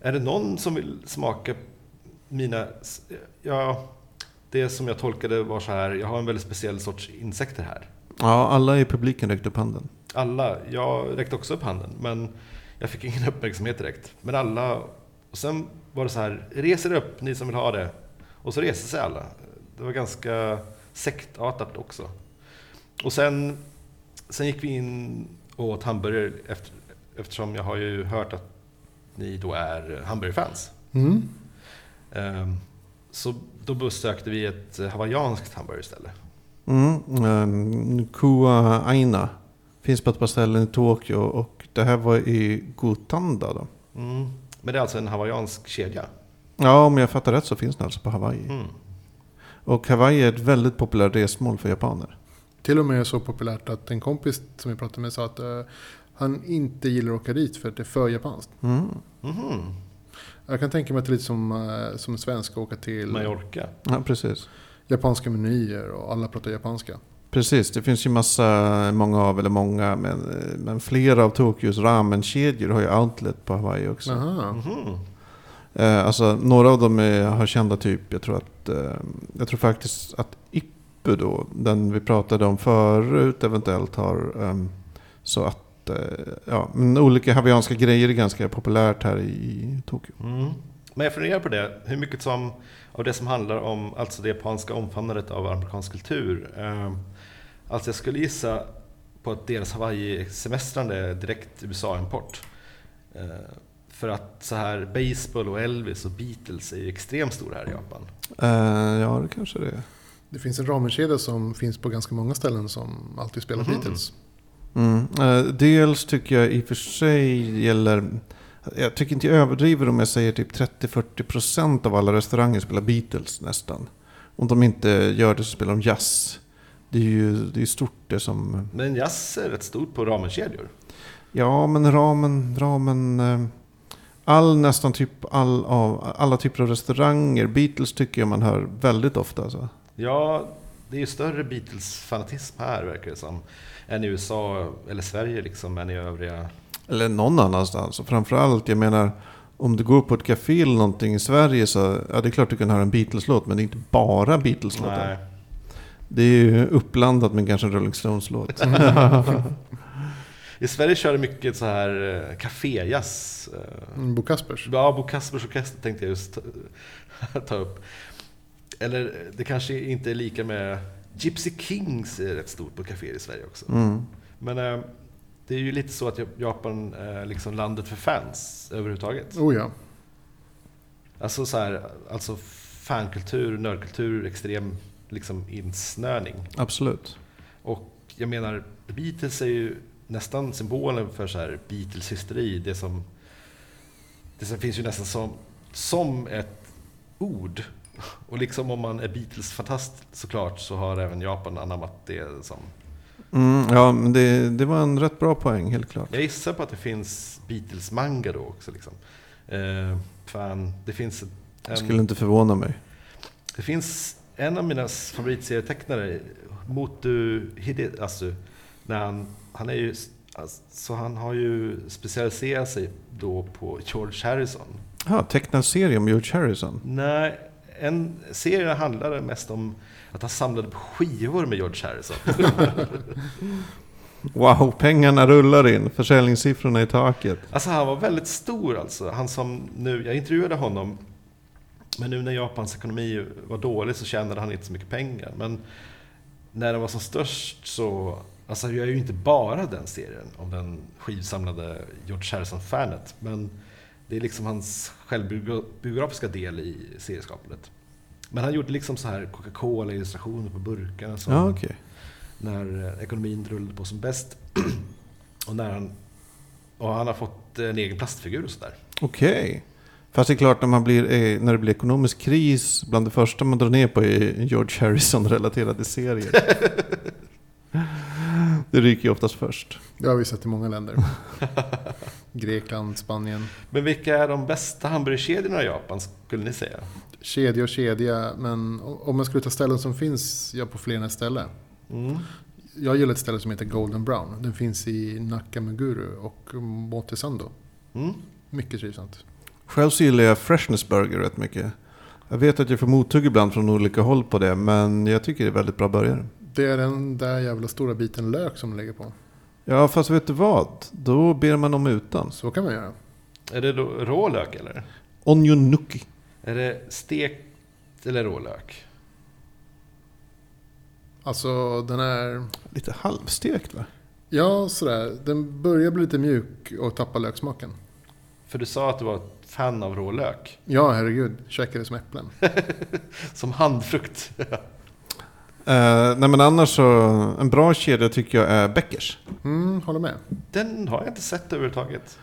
A: är det någon som vill smaka mina, s- ja, det som jag tolkade var så här, jag har en väldigt speciell sorts insekter här.
C: Ja, alla i publiken räckte upp handen.
A: Alla, jag räckte också upp handen, men jag fick ingen uppmärksamhet direkt. Men alla, och sen var det så här, res er upp ni som vill ha det. Och så reste sig alla. Det var ganska sektartat också. Och sen, sen gick vi in och åt hamburgare efter, eftersom jag har ju hört att ni då är hamburgerfans.
B: Mm.
A: Ehm, Så då besökte vi ett hawaiianskt hamburgerställe.
C: Mm, ehm, Kua Aina finns på ett par ställen i Tokyo och det här var i Gotanda då.
A: Mm. Men det är alltså en hawaiiansk kedja.
C: Ja, om jag fattar rätt så finns den alltså på Hawaii.
A: Mm.
C: Och Hawaii är ett väldigt populärt resmål för japaner.
B: Till och med så populärt att en kompis som vi pratade med sa att eh, han inte gillar att åka dit för att det är för japanskt.
C: Mm.
A: Mhm.
B: Jag kan tänka mig att det är lite som, eh, som en svensk åka till
A: Mallorca.
C: Ja, precis.
B: japanska menyer och alla pratar japanska.
C: Precis, det finns ju massa, många av, eller många, men, men flera av Tokyos ramenkedjor har ju outlet på Hawaii också.
B: Aha.
A: Mhm.
C: Eh, alltså, några av dem är, har kända typ. Jag tror, att, eh, jag tror faktiskt att Ippu då, den vi pratade om förut eventuellt har. ehm, så att, eh, ja, men olika hawaiianska grejer är ganska populärt här i Tokyo.
A: Mm. Men jag funderar på det, hur mycket som, av det som handlar om alltså det japanska omfamnandet av amerikansk kultur. Eh, alltså jag skulle gissa på att deras Hawaii-semestrande är direkt USA-import. Eh, för att så här baseball och Elvis och Beatles är ju extremt stora här i Japan.
C: Eh, ja, det kanske det är.
B: Det finns en ramenkedja som finns på ganska många ställen som alltid spelar
A: Mhm.
B: Beatles.
C: Mm. Eh, dels tycker jag i och för sig gäller... Jag tycker inte jag överdriver om jag säger typ 30-40% av alla restauranger spelar Beatles nästan. Om de inte gör det så spelar de jazz. Det är ju det är stort det som...
A: Men jazz är rätt stort på ramenkedjor.
C: Ja, men ramen... ramen eh, all nästan typ all, av, alla typer av restauranger. Beatles tycker jag man hör väldigt ofta. Alltså.
A: Ja, det är ju större Beatles-fanatism här verkar det som. Än i USA eller Sverige liksom, än i övriga...
C: Eller någon annanstans. Och framförallt, jag menar, om du går på ett café eller någonting i Sverige så, ja det är klart du kan höra en Beatles-låt, men det är inte bara Beatles-låtar.
A: Nej.
C: Det är ju uppblandat med kanske en Rolling Stones-låt.
A: I Sverige kör det mycket så här eh, kaféjazz. eh.
B: Mm, Bo Kaspers.
A: Ja, Bo Kaspers Orkester tänkte jag just ta- ta upp. Eller eh, det kanske inte är lika med... Gypsy Kings är rätt stort på kaféer i Sverige också.
C: Mm.
A: Men eh, det är ju lite så att Japan är liksom landet för fans överhuvudtaget.
B: Oh ja.
A: Alltså så här, alltså fankultur, nördkultur, extrem liksom insnöning.
C: Absolut.
A: Och jag menar, Beatles är ju nästan symbolen för så här Beatles-hysteri. Det som, det som finns ju nästan som, som ett ord. Och liksom om man är Beatles-fantast såklart så har även Japan anammat det som...
C: Mm, ja, men det, det var en rätt bra poäng, helt klart.
A: Jag gissar på att det finns Beatles-manga då också liksom. Eh, fan, det finns en...
C: Skulle inte förvåna mig.
A: Det finns en av mina favoritserietecknare, Motu Hideasu, när han, han är ju, alltså, så han har ju specialiserat sig då på George Harrison.
C: Ja, tecknad serie om George Harrison.
A: Nej, en serie handlade mest om att han samlade på skivor med George Harrison.
C: Wow, pengarna rullar in. Försäljningssiffrorna i taket.
A: Alltså han var väldigt stor alltså. Han som nu, jag intervjuade honom, men nu när Japans ekonomi var dålig så tjänade han inte så mycket pengar. Men när den var som störst så, alltså jag är ju inte bara den serien om den skivsamlade George Harrison-fanet, men det är liksom hans självbiografiska del i serieskapandet. Men han gjorde liksom så här Coca-Cola-illustrationer på burkarna. Som,
C: Ja, okej.
A: när eh, ekonomin rullade på som bäst. och, när han, och han har fått eh, en egen plastfigur och sådär.
C: Okej. Fast det är klart när, man blir, eh, när det blir ekonomisk kris, bland det första man drar ner på är George Harrison-relaterade serier. det ryker ju oftast först.
B: Det har vi sett i många länder. Grekland, Spanien.
A: Men vilka är de bästa hamburgerkedjorna i Japan skulle ni säga?
B: Kedja och kedja, men o- om man skulle ta ställen som finns ja, på fler än ett ställe.
A: Mm.
B: Jag gillar ett ställe som heter Golden Brown. Den finns i Nakameguru och Montesando.
A: Mm.
B: Mycket trivsamt.
C: Själv så gillar jag Freshness Burger rätt mycket. Jag vet att jag får mothugg ibland från olika håll på det, men jag tycker det är väldigt bra burgare.
B: Det är den där jävla stora biten lök som de lägger på.
C: Ja, fast vet du vad? Då ber man om utan.
B: Så kan man göra.
A: Är det då rå lök eller?
C: Onion nuki.
A: Är det stekt eller rå lök?
B: Alltså den är...
C: Lite halvstekt va?
B: Ja, sådär. Den börjar bli lite mjuk och tappa löksmaken.
A: För du sa att du var ett fan av rå lök.
B: Ja, herregud. Käkar det som äpplen.
A: Som handfrukt.
C: Eh, nej men annars så, en bra kedja tycker jag är Beckers.
B: Mm, håller med.
A: Den har jag inte sett överhuvudtaget.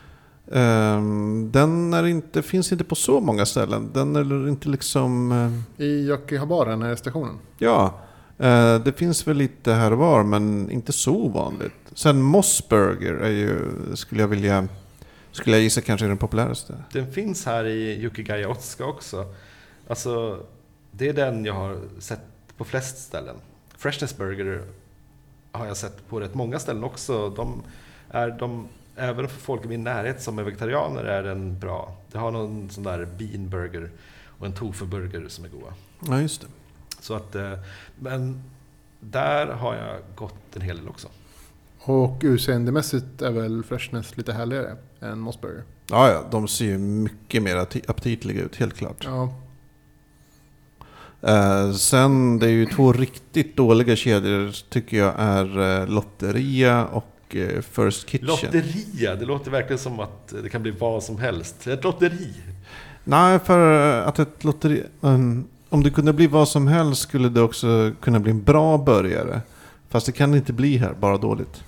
C: Ehm, den är inte, finns inte på så många ställen. Den är inte liksom... eh,
B: I Yokohabara, den här stationen.
C: ja, Eh, Det finns väl lite här och var, men inte så ovanligt. Sen Mossburger är ju, skulle jag vilja, skulle jag gissa kanske är den populäraste.
A: Den finns här i Yukigaya Otsuka också. Alltså, det är den jag har sett på flest ställen. Freshness Burger har jag sett på rätt många ställen också. De är, de, även för folk i min närhet som är vegetarianer är den bra. Det har någon sån där bean burger och en tofu-burger som är goda.
C: Ja, just det.
A: Så att, eh, men där har jag gått en hel del också.
B: Och utseendemässigt är väl Freshness lite härligare än Mossburger.
C: Ja, ja, de ser ju mycket mer ati- aptitliga ut, helt klart.
B: Ja,
C: Eh, sen, det är ju två riktigt dåliga kedjor tycker jag är eh, Lotteria och eh, First Kitchen.
A: Lotteria, det låter verkligen som att det kan bli vad som helst. Ett lotteri.
C: Nej, för eh, att ett lotteri... mm, Om det kunde bli vad som helst skulle det också kunna bli en bra börjare. Fast det kan det inte bli här, bara dåligt.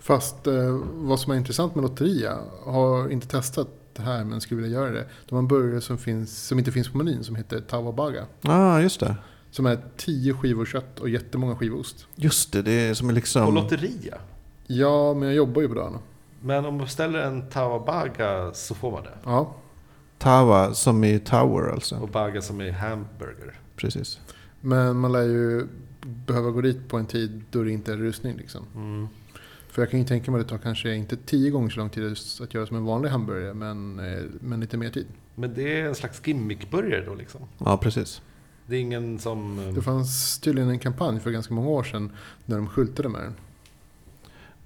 B: fast eh, vad som är intressant med Lotteria, har inte testat det här men skulle vilja göra det. De har en burgare som, finns, som inte finns på menyn som heter Tawabaga.
C: Ja, ah, just det.
B: Som är tio skivor kött och jättemånga skivor ost.
C: Just det, det är som är
A: Och
C: liksom...
A: lotteria.
B: Ja, men jag jobbar ju på dagarna.
A: Men om man beställer en tawabaga så får man det.
B: Ja,
C: Tawa, som i Tower alltså.
A: Och baga som är hamburger.
C: Precis.
B: men man lär ju behöva gå dit på en tid då det inte är rusning liksom.
A: Mm.
B: För jag kan ju tänka mig att det tar kanske inte tio gånger så lång tid att göra som en vanlig hamburgare, men, eh, men lite mer tid.
A: Men det är en slags gimmickburgare då liksom.
C: Ja, precis.
A: Det är ingen som... eh,
B: Det fanns tydligen en kampanj för ganska många år sedan när de skyltade med den.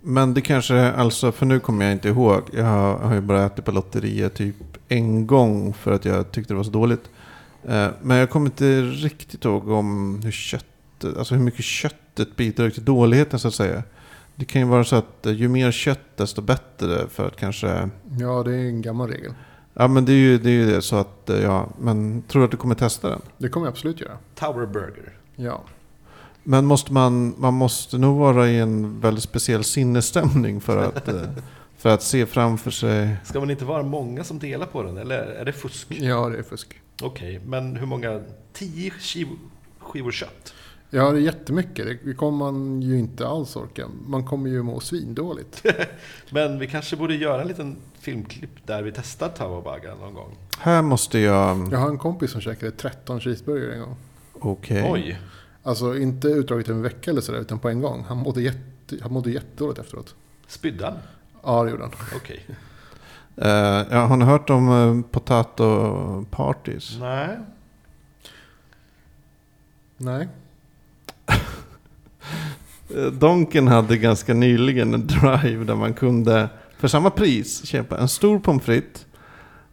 C: Men det kanske, alltså, för nu kommer jag inte ihåg. Jag har, har ju bara ätit på Lotteria typ en gång för att jag tyckte det var så dåligt. Eh, Men jag kommer inte riktigt ihåg om hur köttet, alltså hur mycket köttet bidrar till dåligheten så att säga. Det kan ju vara så att eh, ju mer kött desto bättre för att kanske...
B: Ja, det är en gammal regel.
C: Ja men det är ju det, är ju det så att, eh, ja, men tror du att du kommer testa den?
B: Det kommer jag absolut göra.
A: Tower burger.
B: Ja.
C: Men måste man, man måste nog vara i en väldigt speciell sinnesstämning för att, eh, för att se framför sig
A: Ska man inte vara många som delar på den? Eller är det fusk?
B: ja, det är fusk.
A: Okej, men hur många? Tio skiv- skivor kött?
B: Ja, det är jättemycket. Det kommer man ju inte alls orka. Man kommer ju må svindåligt.
A: Men vi kanske borde göra en liten filmklipp där vi testar tawabaga någon gång.
C: Här måste jag...
B: Jag har en kompis som käkade 13 cheeseburgare en gång.
C: Okej.
A: Oj!
B: Alltså inte utdraget över en vecka eller sådär, utan på en gång. Han mådde, jätte, han mådde jättedåligt efteråt.
A: Spyddan?
B: Ja, det gjorde han.
A: Okej.
C: Eh, ja, har ni hört om eh, potato parties?
A: Nej.
B: Nej.
C: Eh, Donken hade ganska nyligen en drive där man kunde för samma pris köpa en stor pommes frites.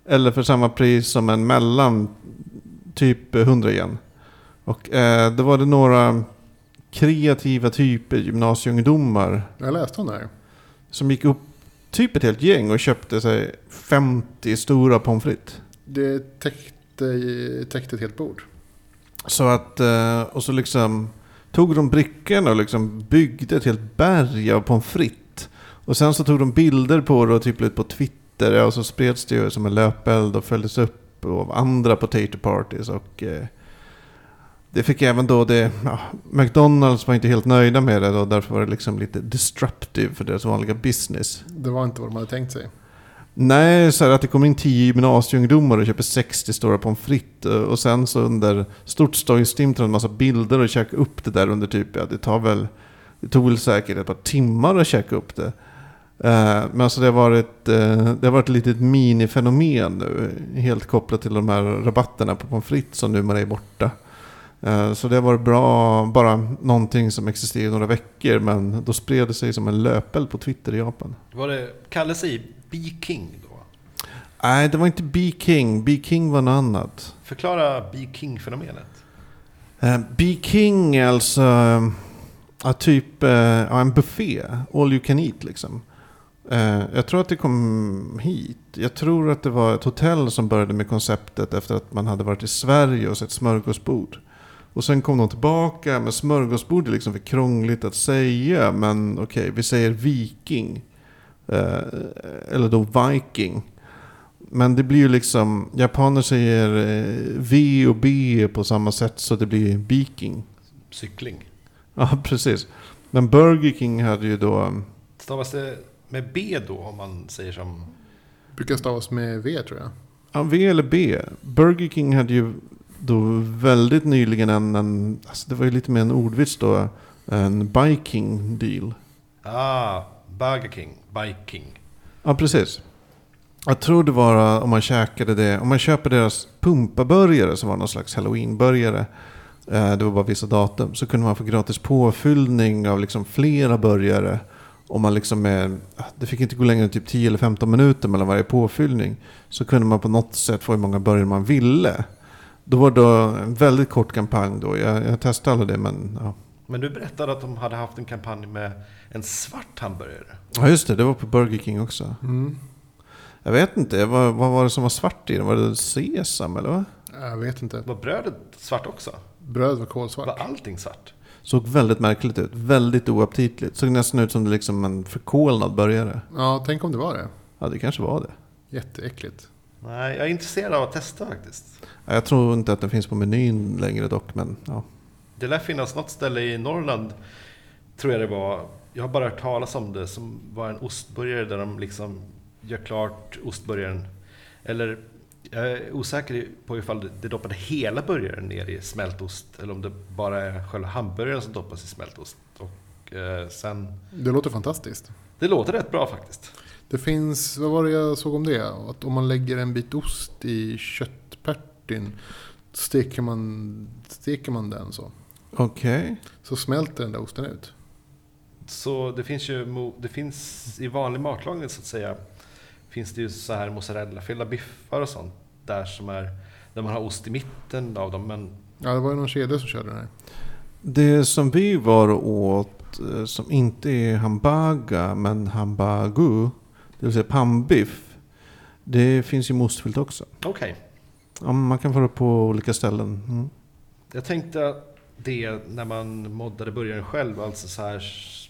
C: Eller för samma pris som en mellan typ 100 igen. Och eh, då var det några kreativa typer, gymnasieungdomar,
B: Jag läste om det här.
C: som gick upp typ ett helt gäng och köpte sig 50 stora pommes frites.
B: Det täckte, täckte ett helt bord.
C: Så att, eh, och så liksom tog de brickorna och liksom byggde ett helt berg av pommes frites. Och sen så tog de bilder på det och typ la ut på Twitter ja, och så spreds det ju som en löpeld och följdes upp av andra potato parties och eh, det fick även då det, ja, McDonalds var inte helt nöjda med det och därför var det liksom lite disruptive för deras vanliga business.
B: Det var inte vad de hade tänkt sig.
C: Nej, så här att det kommer in tio gymnasieungdomar och köper 60 stora pommes frites eh, och sen så under stort storgstim tar en massa bilder och käkar upp det där under typ, ja det tar väl, det tog väl säkert ett par timmar att käka upp det. Eh, Men alltså det har varit, eh, det har varit ett litet minifenomen nu, helt kopplat till de här rabatterna på pommes frites som numera är borta. Eh, Så det har varit bra, bara någonting som existerade i några veckor men då spred det sig som en löpeld på Twitter i Japan.
A: Var det... Kalle sig B-King då?
C: Nej, det var inte B-King. B-King var något annat.
A: Förklara B-King-fenomenet.
C: Eh, B-King är alltså eh, ja, typ eh, ja, en buffé. All you can eat liksom. Eh, Jag tror att det kom hit. Jag tror att det var ett hotell som började med konceptet efter att man hade varit i Sverige och sett smörgåsbord. Och sen kom de tillbaka med smörgåsbord, det är liksom för krångligt att säga. Men okej, vi säger viking. Eh, Eller då viking. Men det blir ju liksom, japaner säger eh, V och B på samma sätt så det blir viking.
A: Cykling.
C: Ja, precis. Men Burger King hade ju då... um,
A: Stavas det med B då om man säger som...
B: Brukar stavas med V tror jag.
C: Ja, V eller B. Burger King hade ju då väldigt nyligen en... en alltså det var ju lite mer en ordvits då. En biking deal.
A: Ah, Burger King, Biking.
C: Ja, precis. Jag tror det var eh, om man käkade det, om man köper deras pumpaburgare som var någon slags halloweenburgare. eh, Det var bara vissa datum. Så kunde man få gratis påfyllning av liksom flera burgare. Om man liksom eh, det fick inte gå längre än typ 10 eller 15 minuter mellan varje påfyllning. Så kunde man på något sätt få hur många burgare man ville. Då var det då en väldigt kort kampanj då. Jag, jag testade aldrig det men ja.
A: Men du berättade att de hade haft en kampanj med en svart hamburgare.
C: Ja just det, det var på Burger King också.
B: Mm.
C: Jag vet inte, vad, vad var det som var svart i den? Var det sesam eller vad?
B: Jag vet inte.
A: Var brödet svart också?
B: Bröd var
A: Var
B: kolsvart.
A: allting svart?
C: Såg väldigt märkligt ut. Väldigt oaptitligt. Såg nästan ut som det liksom en förkolnad burgare.
B: Ja, tänk om det var det.
C: Ja, det kanske var det.
B: Jätteäckligt.
A: Nej, jag är intresserad av att testa faktiskt.
C: Ja, Jag tror inte att den finns på menyn längre dock, men ja.
A: Det lär finnas något ställe i Norrland, tror jag det var. Jag har bara hört talas om det, som var en ostburgare där de liksom gör klart ostburgaren. Eller jag är osäker på ifall det doppade hela burgaren ner i smältost eller om det bara är själva hamburgaren som doppas i smältost. Och eh, sen...
B: Det låter fantastiskt.
A: Det låter rätt bra faktiskt.
B: Det finns, vad var det jag såg om det? Att om man lägger en bit ost i köttpärtin steker man, steker man den så.
C: Okej.
B: Så smälter den där osten ut.
A: Så det finns ju mo- det finns i vanlig matlagning så att säga finns det ju så här mozzarellafyllda biffar och sånt där som är där man har ost i mitten av dem. Men
B: Ja, det var ju någon kedja som körde den här.
C: Det som vi var och åt, eh, som inte är hambaga, men hambagu, det vill säga pannbiff, det finns ju med ostfyllt också.
A: okej,
C: Ja, man kan få det på olika ställen. Mm.
A: jag tänkte det när man moddade burgaren själv, alltså så här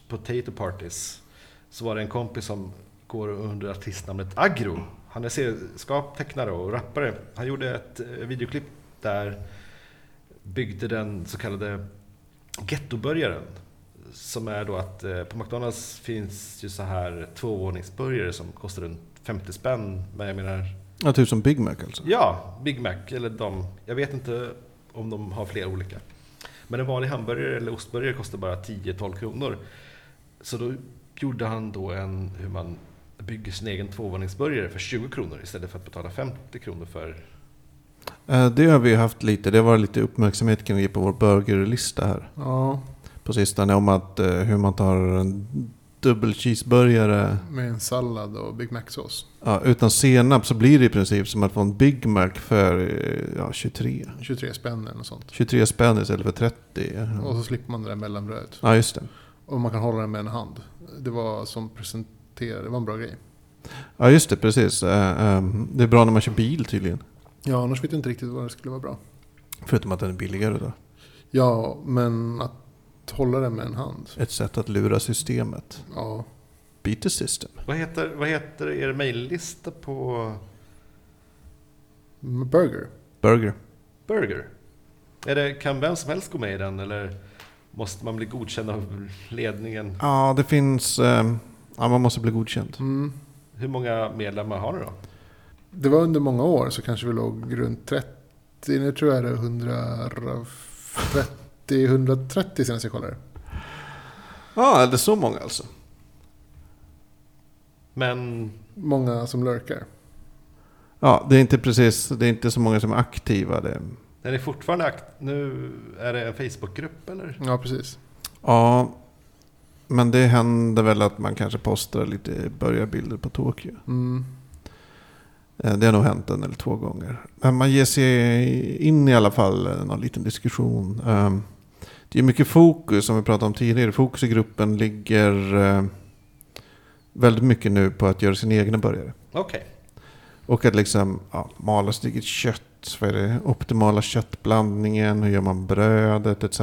A: potato parties. Så var det en kompis som går under artistnamnet Agro. Han är serieskap, tecknare och rappare. Han gjorde ett eh, videoklipp där byggde den så kallade gettoburgaren. Som är då att eh, på McDonalds finns ju så här tvåvåningsburgare som kostar runt 50 spänn. Men jag menar,
C: Ja, typ som Big Mac alltså.
A: ja, Big Mac eller de. Jag vet inte om de har fler olika. Men en vanlig hamburgare eller ostburgare kostar bara 10-12 kronor. Så då gjorde han då en hur man bygger sin egen tvåvåningsburgare för 20 kronor istället för att betala 50 kronor för
C: Eh, Det har vi haft lite, det var lite uppmärksamhet kring det på vår burgerlista här.
B: Ja,
C: på sistone om att eh, hur man tar en dubbel cheeseburgare
B: med en sallad och Big Mac-sås.
C: ja, utan senap så blir det i princip som att få en Big Mac för eh, ja, 23.
B: 23 spänn eller något sånt.
C: 23 spänn istället för 30. Ja.
B: Och så slipper man det där mellanbrödet.
C: Ja, just det.
B: Och man kan hålla den med en hand. Det var som presenterade, det var en bra grej.
C: Ja, just det, precis. Eh, eh, Det är bra när man kör bil tydligen.
B: Ja, annars vet jag inte riktigt vad det skulle vara bra.
C: Förutom att den är billigare då.
B: Ja, men att hålla den med en hand.
C: Ett sätt att lura systemet.
B: Ja,
C: Beat the system.
A: Vad heter, vad heter er mejllista på
B: med burger.
C: Burger.
A: Burger? Är det, kan vem som helst gå med i den eller måste man bli godkänd av ledningen?
C: Ja, det finns... eh, Ja, man måste bli godkänd.
B: Mm.
A: Hur många medlemmar har ni då?
B: Det var under många år så kanske vi låg runt 30. Nu tror jag det är 130, 130 senast jag kollade.
C: Ja, det är så många alltså.
A: Men
B: Många som lurkar.
C: Ja, det är inte precis... Det är inte så många som är aktiva. Det
A: är ni fortfarande akt- Nu är det en Facebookgrupp eller?
B: Ja, precis.
C: Ja, men det händer väl att man kanske postar lite börjarbilder på Tokyo.
B: Mm.
C: Eh, Det har nog hänt en eller två gånger. Men man ger sig in i alla fall i någon liten diskussion. Eh, Det är mycket fokus, som vi pratade om tidigare. Fokus i gruppen ligger eh, väldigt mycket nu på att göra sina egna burgare.
A: Okej.
C: Och att liksom ja, mala sitt eget kött. Vad är det? Optimala köttblandningen, hur gör man brödet etc.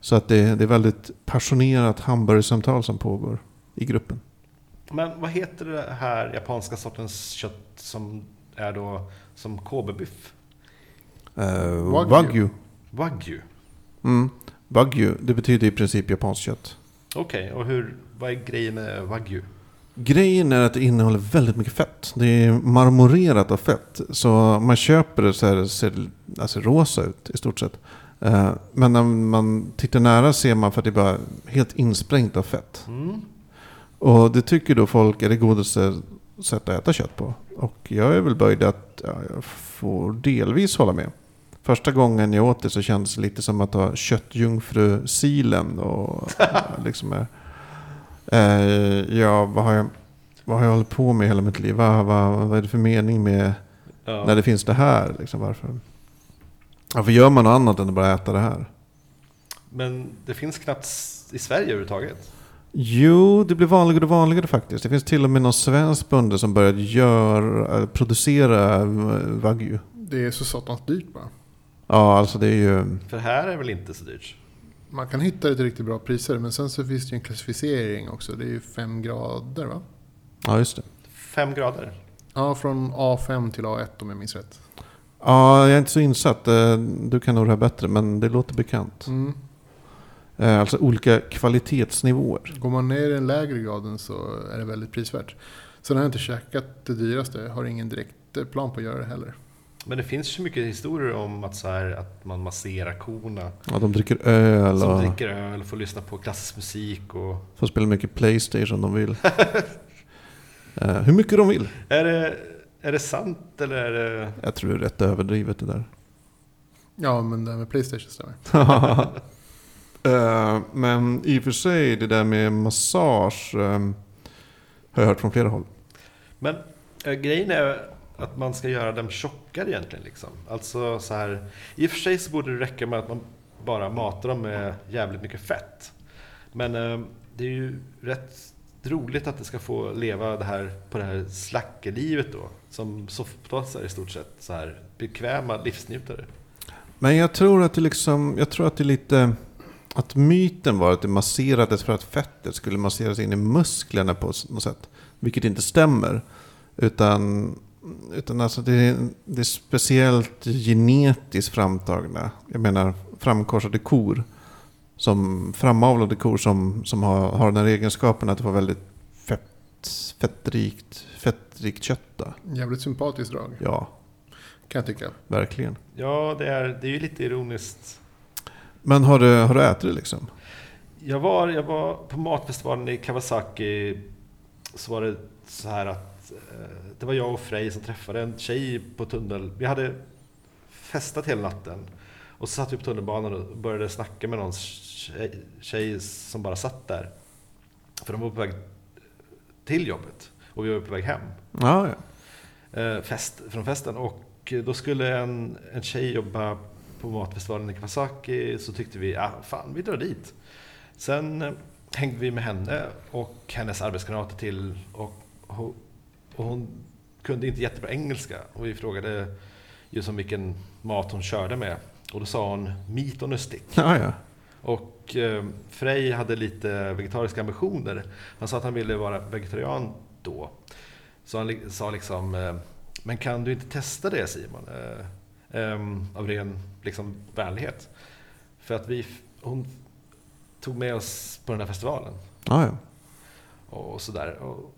C: Så att det, det är väldigt passionerat hamburgersamtal som pågår i gruppen.
A: Men vad heter det här japanska sortens kött som är då som kobebiff?
C: Eh,
B: Wagyu.
C: Wagyu.
A: Wagyu.
C: Mm. Wagyu, det betyder i princip japanskt kött.
A: Okej, och hur, vad är grejen med wagyu?
C: Grejen är att det innehåller väldigt mycket fett. Det är marmorerat av fett. Så man köper det så här, ser det alltså, rosa ut i stort sett. Eh, Men när man tittar nära ser man för att det är bara helt insprängt av fett.
A: Mm.
C: Och det tycker då folk är det godaste sättet att äta kött på. Och jag är väl böjd att ja, jag får delvis hålla med. Första gången jag åt det så kändes det lite som att ha köttjungfrusilen. Och eh, liksom är, eh, ja, vad har, jag, vad har jag hållit på med hela mitt liv? Vad, vad, vad är det för mening med
A: Ja.
C: när det finns det här? Liksom, varför? varför gör man något annat än att bara äta det här?
A: Men det finns knappt s- i Sverige överhuvudtaget.
C: Jo, det blir vanligare och vanligare faktiskt. Det finns till och med någon svensk bonde som börjat göra, producera eh, wagyu.
B: Det är så satans dyrt bara.
C: Ja, alltså det är ju...
A: För här är väl inte så dyrt?
B: Man kan hitta det till riktigt bra priser men sen så finns det ju en klassificering också. Det är ju fem grader va?
C: Ja, just det.
A: Fem grader.
B: Ja, från A5 till A1 om jag minns rätt.
C: Ja, jag är inte så insatt. Eh, Du kan nog det här bättre, men det låter bekant.
B: Mm.
C: Eh, Alltså olika kvalitetsnivåer.
B: Går man ner i den lägre graden så är det väldigt prisvärt. Sen har jag inte käkat det dyraste. Jag har ingen direkt eh, plan på att göra det heller.
A: Men det finns ju mycket historier om att, så här, att man masserar korna.
C: Ja, de dricker öl
A: Som
C: och
A: dricker öl, får lyssna på klassisk musik och...
C: får spela mycket Playstation om de vill. Eh, Hur mycket de vill.
A: Är det, är det sant eller är det...
C: Jag tror det är rätt överdrivet det där.
B: Ja, men det här med Playstation stämmer.
C: Eh, men i och för sig, det där med massage ehm, har jag hört från flera håll.
A: Men eh, grejen är att man ska göra dem tjockare egentligen. Liksom. Alltså så här, I och för sig så borde det räcka med att man bara matar dem med jävligt mycket fett. Men eh, det är ju rätt roligt att det ska få leva det här, på det här slackerlivet då. Som soffpotatisar i stort sett. Så här, bekväma livsnjutare.
C: Men jag tror att det liksom, jag tror att det är lite, att myten var att det masserades för att fettet skulle masseras in i musklerna på något sätt. Vilket inte stämmer. Utan, utan alltså det, är, det är speciellt genetiskt framtagna. Jag menar framkorsade kor. Som framavlade kor som, som har, har den här egenskapen att det var väldigt fett, fettrikt, fettrikt kött. då.
B: Jävligt sympatiskt drag,
C: Ja,
B: kan jag tycka.
C: verkligen.
A: Ja, det är, det är ju lite ironiskt.
C: Men har du, har du ätit det liksom?
A: Jag var, jag var på matfestivalen i Kawasaki. Så var det så här att eh, det var jag och Frej som träffade en tjej på tunnel. Vi hade festat hela natten. Och så satt vi på tunnelbanan och började snacka med någon tjej, tjej som bara satt där. För de var på väg till jobbet och vi var på väg hem
C: Ja, ja.
A: eh, fest, från festen. Och eh, då skulle en, en tjej jobba på matfestivalen i Kawasaki. Så tyckte vi, ah, fan vi drar dit. Sen eh, hängde vi med henne och hennes arbetskamrater till. Och, ho- och hon kunde inte jättebra engelska. Och vi frågade just om vilken mat hon körde med. Och då sa hon meat on a stick.
C: ja, ja.
A: Och eh, Frey hade lite vegetariska ambitioner. Han sa att han ville vara vegetarian då. Så han li- sa liksom, eh, men kan du inte testa det Simon? Eh, ehm, av ren liksom, vänlighet. För att vi, f- hon tog med oss på den här festivalen.
C: Ja, ja.
A: Och sådär. Och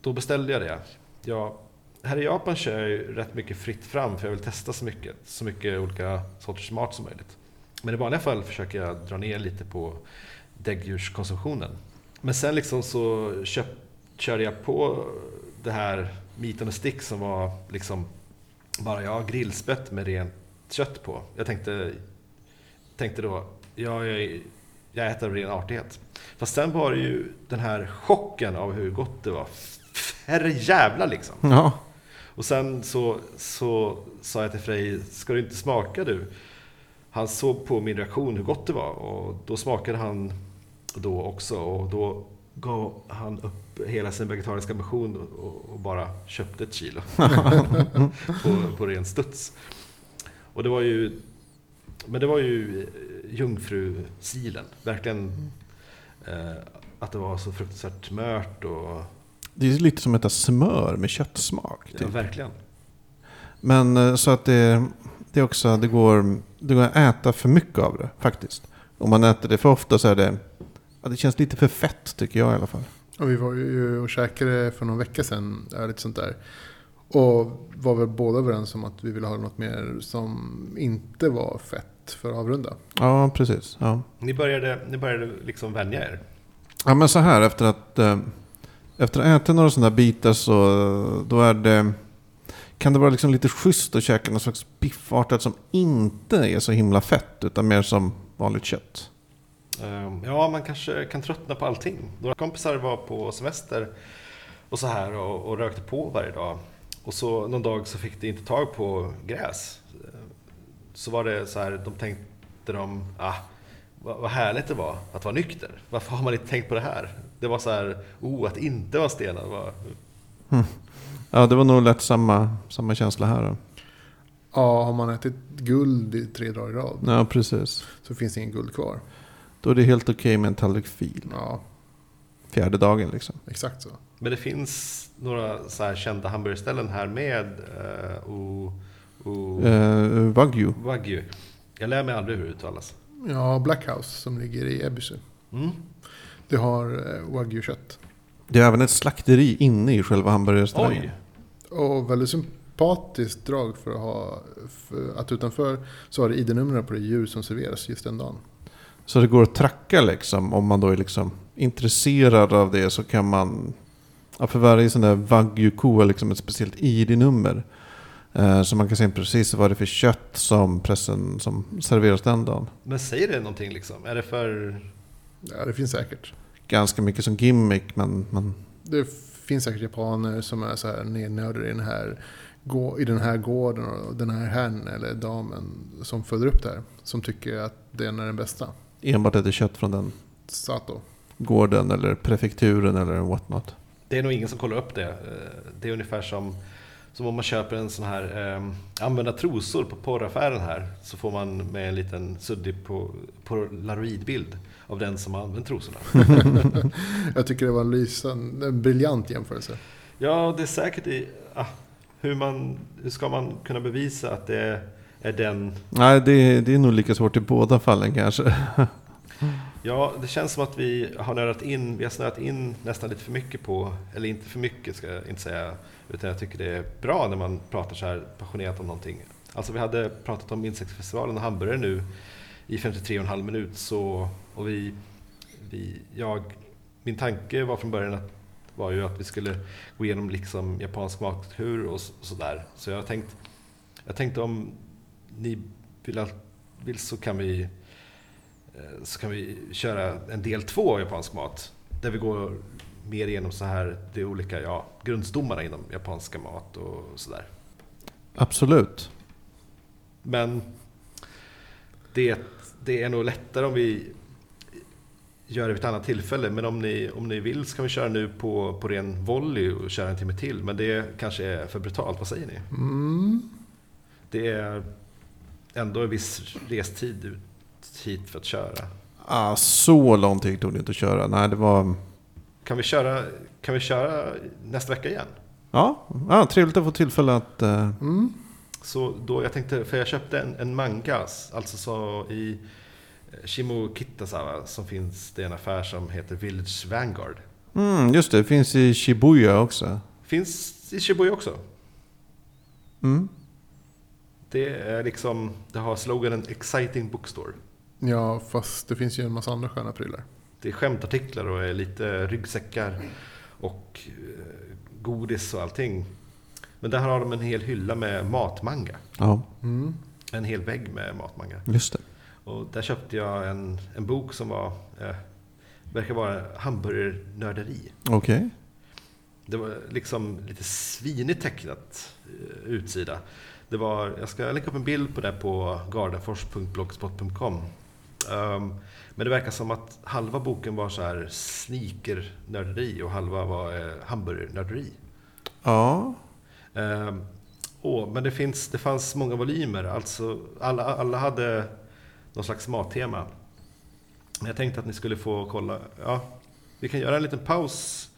A: då beställde jag det. Jag, här i Japan kör jag ju rätt mycket fritt fram för jag vill testa så mycket, så mycket olika sorters mat som möjligt. Men i vanliga fall försöker jag dra ner lite på däggdjurskonsumtionen. Men sen liksom så köp, körde jag på det här meat on a stick som var liksom bara jag grillspett med rent kött på. Jag tänkte, tänkte då, ja, jag, jag äter av ren artighet. Fast sen var det ju den här chocken av hur gott det var. Herrejävlar liksom.
C: ja.
A: Och sen så, så sa jag till Frej, ska du inte smaka du? Han såg på min reaktion hur gott det var och då smakade han då också och då gav han upp hela sin vegetariska ambition och, och bara köpte ett kilo på, på ren studs. Och det var ju, men det var ju eh, jungfrusilen, verkligen eh, att det var så fruktansvärt mört och
C: Det är lite som att äta smör med köttsmak.
A: ja,
C: Typ.
A: verkligen.
C: Men eh, så att det, det är också, det går, det går att äta för mycket av det faktiskt. Om man äter det för ofta så är det... Ja, det känns lite för fett tycker jag i alla fall.
B: Och vi var ju och käkade för någon vecka sedan. ja, Lite sånt där. Och var väl båda överens om att vi ville ha något mer som inte var fett för att avrunda.
C: Ja, precis. Ja.
A: Ni började, ni började liksom vänja er.
C: Ja men så här efter att eh, efter att ha ätit några sådana bitar så eh, då är det kan det vara liksom lite schysst att käka någon slags biffartat som inte är så himla fett utan mer som vanligt kött.
A: Ehm, Ja, man kanske kan tröttna på allting. Några kompisar var på semester och så här och, och rökte på varje dag. Och så någon dag så fick de inte tag på gräs. Ehm, Så var det så här, de tänkte de, ah, vad, vad härligt det var att vara nykter. Varför har man inte tänkt på det här? Det var så här, oh, att inte vara stenad var...
C: Ja det var nog lätt samma, samma känsla här. Då.
B: Ja, har man ätit guld i tre dagar i rad
C: Ja precis.
B: så finns det ingen guld kvar.
C: Då är det helt okej med en tallrik fil.
B: Ja,
C: Fjärde dagen liksom.
B: exakt så.
A: Men det finns några så här kända hamburgerställen här med eh, och, och
C: Eh, wagyu.
A: wagyu. Jag lär mig aldrig hur det uttalas.
B: Ja, Blackhouse som ligger i Ebbsö.
A: Mm.
B: Det har eh, wagyu-kött.
C: Det är även ett slakteri inne i själva hamburgerrestaurangen.
A: Oj!
B: Och väldigt sympatiskt drag för att ha för att utanför så har det ID-numren på det djur som serveras just den dagen.
C: Så det går att tracka liksom. Om man då är liksom intresserad av det så kan man... Ja, för varje sån där wagyu-ko har liksom ett speciellt ID-nummer. Eh, så man kan se precis vad det är för kött som pressen som serveras den dagen.
A: Men säger det någonting liksom? Är det för...
B: Ja, det finns säkert.
C: Ganska mycket som gimmick men... men
B: Det finns säkert japaner som är så här nednördade i den här, gå- i den här gården och den här herrn eller damen som föder upp det här. Som tycker att den är den bästa.
C: enbart äter kött från den
B: Sato.
C: gården eller prefekturen eller what not.
A: Det är nog ingen som kollar upp det. Eh, Det är ungefär som, som om man köper en sån här eh, använda trosor på porraffären här. Så får man med en liten suddig på, på bild av den som har använt trosorna.
B: Jag tycker det var en lysande, en briljant jämförelse.
A: Ja, det är säkert i... Ah, hur, man, hur ska man kunna bevisa att det är den...
C: Nej, det, det är nog lika svårt i båda fallen kanske.
A: Ja, det känns som att vi har nörat in, vi har snöat in nästan lite för mycket på, eller inte för mycket ska jag inte säga, utan jag tycker det är bra när man pratar så här passionerat om någonting. Alltså vi hade pratat om insektsfestivalen och hamburgare nu i 53,5 minut så, och vi, vi, jag, min tanke var från början att, var ju att vi skulle gå igenom liksom japansk matkultur och s- sådär. Så jag har tänkt, jag tänkte om ni vill, att- vill så kan vi Eh, så kan vi köra en del två av japansk mat. Där vi går mer igenom så här, de olika ja, grundstommarna inom japanska mat och sådär.
C: Absolut.
A: Men det, det är nog lättare om vi gör det vid ett annat tillfälle. Men om ni, om ni vill så kan vi köra nu på, på ren volley och köra en timme till. Men det kanske är för brutalt, vad säger ni?
B: Mm.
A: Det är ändå en viss restid ut hit för att köra.
C: Ah, så lång tid tog det inte att köra. Nej, det var...
A: Kan vi köra, kan vi köra nästa vecka igen?
C: Ja, ah, trevligt att få tillfälle att... eh,
B: Mm.
A: Så då, jag tänkte, för jag köpte en, en mangas, alltså så i eh, Shimokitazawa som finns, det är en affär som heter Village Vanguard.
C: Mm, just det, det finns i Shibuya också.
A: Finns i Shibuya också.
C: Mm.
A: Det är liksom, det har sloganen Exciting Bookstore.
B: Ja, fast det finns ju en massa andra sköna prylar.
A: Det är skämtartiklar och är lite ryggsäckar och eh, godis och allting. Men där har de en hel hylla med matmanga.
C: Ja,
B: Mm.
A: En hel vägg med matmanga.
C: just det.
A: Och där köpte jag en, en bok som var, eh, verkar vara hamburgernörderi.
C: Okej.
A: Det var liksom lite svinigt tecknat eh, utsida. Det var, jag ska lägga upp en bild på det på gardenfors.blogspot.com. Ehm, men det verkar som att halva boken var så här sneakernörderi och halva var eh, hamburgernörderi.
C: Ja.
A: Ehm, åh, men det, finns, det fanns många volymer, alltså alla, alla hade någon slags mattema. Men Jag tänkte att ni skulle få kolla. Ja, vi kan göra en liten paus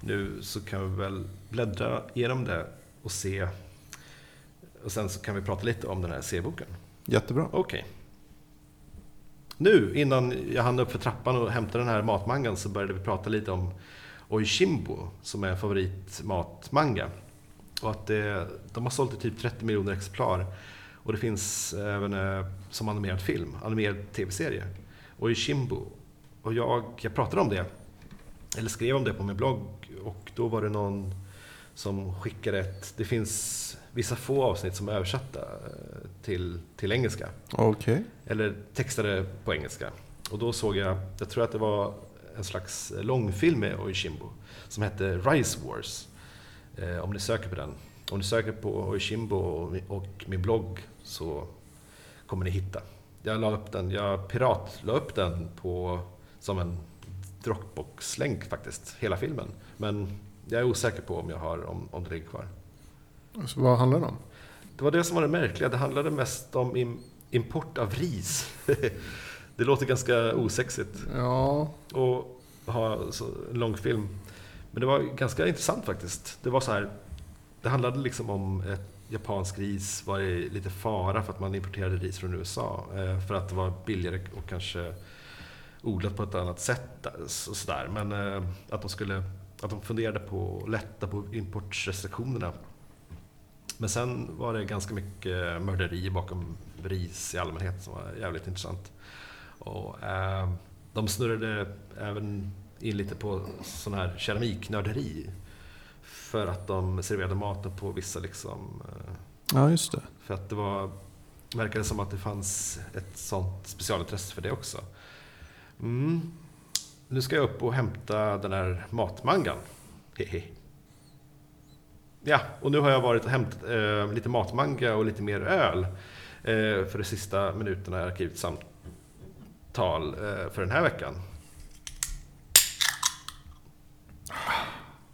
A: nu så kan vi väl bläddra igenom det och se. Och sen så kan vi prata lite om den här C-boken.
C: Jättebra.
A: Okej. Nu, innan jag hann upp för trappan och hämta den här matmangan så började vi prata lite om Oishimbo som är favoritmatmanga. Och att det, de har sålt i typ 30 miljoner exemplar. Och det finns även eh, som animerad film, animerad tv-serie. Oishimbo. Och jag, jag pratade om det, eller skrev om det på min blogg och då var det någon som skickade ett... Det finns vissa få avsnitt som är översatta eh, till, till engelska.
C: Okej.
A: Eller textade på engelska. Och då såg jag, jag tror att det var en slags långfilm med Oishimbo som hette Rise Wars. Eh, om ni söker på den. Om ni söker på Oishimbo och, mi- och min blogg så kommer ni hitta. Jag la upp den, jag pirat la upp den på, som en Dropbox-länk faktiskt, hela filmen. Men jag är osäker på om jag har, om, om det ligger kvar.
B: Så vad handlar det om?
A: Det var det som var det märkliga. Det handlade mest om im- import av ris. det låter ganska osexigt
B: Ja,
A: och ha så, en långfilm. Men det var ganska intressant faktiskt. Det var så här, det handlade liksom om ett japansk ris var i lite fara för att man importerade ris från USA. eh, För att det var billigare och kanske odlat på ett annat sätt. där, så- sådär. Men eh, att de, skulle, att de funderade på att lätta på importrestriktionerna. Men sen var det ganska mycket mörderier bakom ris i allmänhet som var jävligt intressant. Och, eh, de snurrade även in lite på sån här keramiknörderi. För att de serverade maten på vissa liksom... eh,
C: Ja, just det.
A: För att det var... verkade som att det fanns ett sånt specialintresse för det också. Mm. Nu ska jag upp och hämta den här matmangan. Hehe. Ja, och nu har jag varit och hämtat eh, lite matmanga och lite mer öl eh, för de sista minuterna i Arkivets samtal eh, för den här veckan.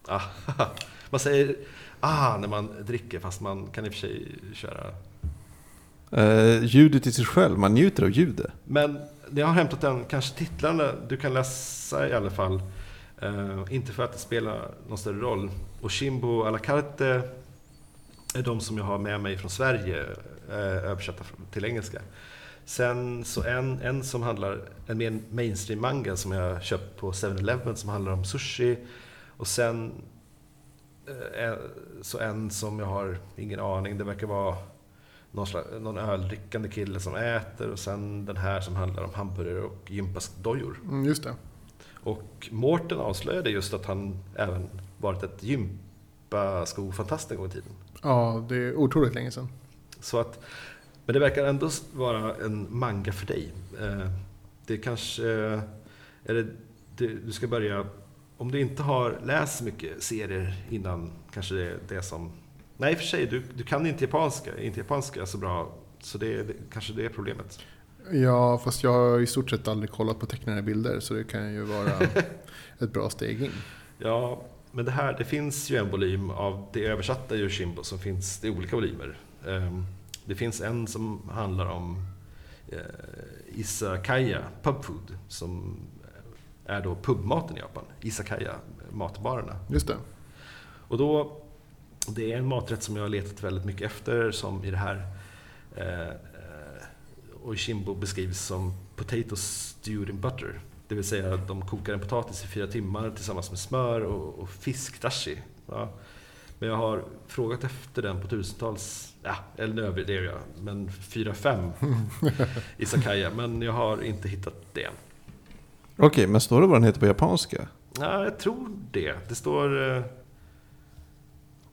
A: Ah, man säger ah när man dricker fast man kan i och för sig köra
C: Eh, ljudet i sig själv, man njuter av ljudet.
A: Men jag har hämtat den, kanske titlarna du kan läsa i alla fall. Eh, inte för att det spelar någon större roll. Och Shimbo à la carte är de som jag har med mig från Sverige eh, översatta från- till engelska. Sen så en, en som handlar, en mer mainstream manga som jag köpt på 7-Eleven som handlar om sushi. Och sen eh, en- så en som jag har ingen aning, det verkar vara någon, slags, någon öldrickande kille som äter och sen den här som handlar om hamburgare och gympaskdojor.
B: mm, just det.
A: Och Mårten avslöjade just att han även varit ett gympaskofantast en gång i tiden.
B: Ja, det är otroligt länge sedan.
A: Så att, men det verkar ändå vara en manga för dig. Eh, Det kanske... eh, Eller det, du ska börja... Om du inte har läst mycket serier innan kanske det är det som... Nej, i och för sig, du, du kan inte japanska, inte japanska så bra. Så det, det kanske det är problemet.
B: Ja, fast jag har i stort sett aldrig kollat på tecknade bilder så det kan ju vara ett bra steg in.
A: Ja, men det här, det finns ju en volym av det översatta Yoshimbo som finns i olika volymer. Ehm, Det finns en som handlar om eh, Isakaya Pub Food som är då pubmaten i Japan. Isakaya, matbarerna.
B: Just det.
A: Och då, det är en maträtt som jag har letat väldigt mycket efter som i det här eh, eh, Oishimbo beskrivs som potato stewed in butter. Det vill säga att de kokar en potatis i fyra timmar tillsammans med smör och, och fiskdashi. Ja. Men jag har frågat efter den på tusentals, ja, eller över det gör jag, men fyra, fem i Sakaya. Men jag har inte hittat det än.
C: Okej, men står det vad den heter på japanska?
A: Ja, jag tror det. Det står eh,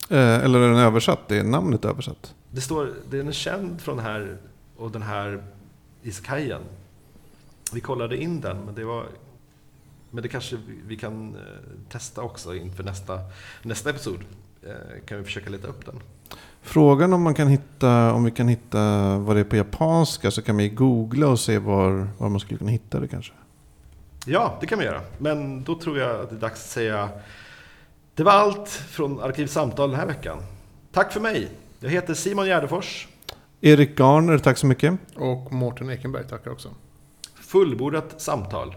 C: Eh, eller är den översatt? Det är namnet översatt.
A: Det står, den är känd från den här och den här iskajen. Vi kollade in den, men det var... Men det kanske vi- vi kan eh, testa också inför nästa, nästa episod. Eh, Kan vi försöka leta upp den?
C: Frågan om, man kan hitta, om vi kan hitta vad det är på japanska så kan vi googla och se var, var man skulle kunna hitta det kanske.
A: Ja, det kan vi göra. Men då tror jag att det är dags att säga... Det var allt från Arkivsamtal den här veckan. Tack för mig! Jag heter Simon Gärdefors.
C: Erik Garner, tack så mycket.
B: Och Mårten Ekenberg tackar också.
A: Fullbordat samtal.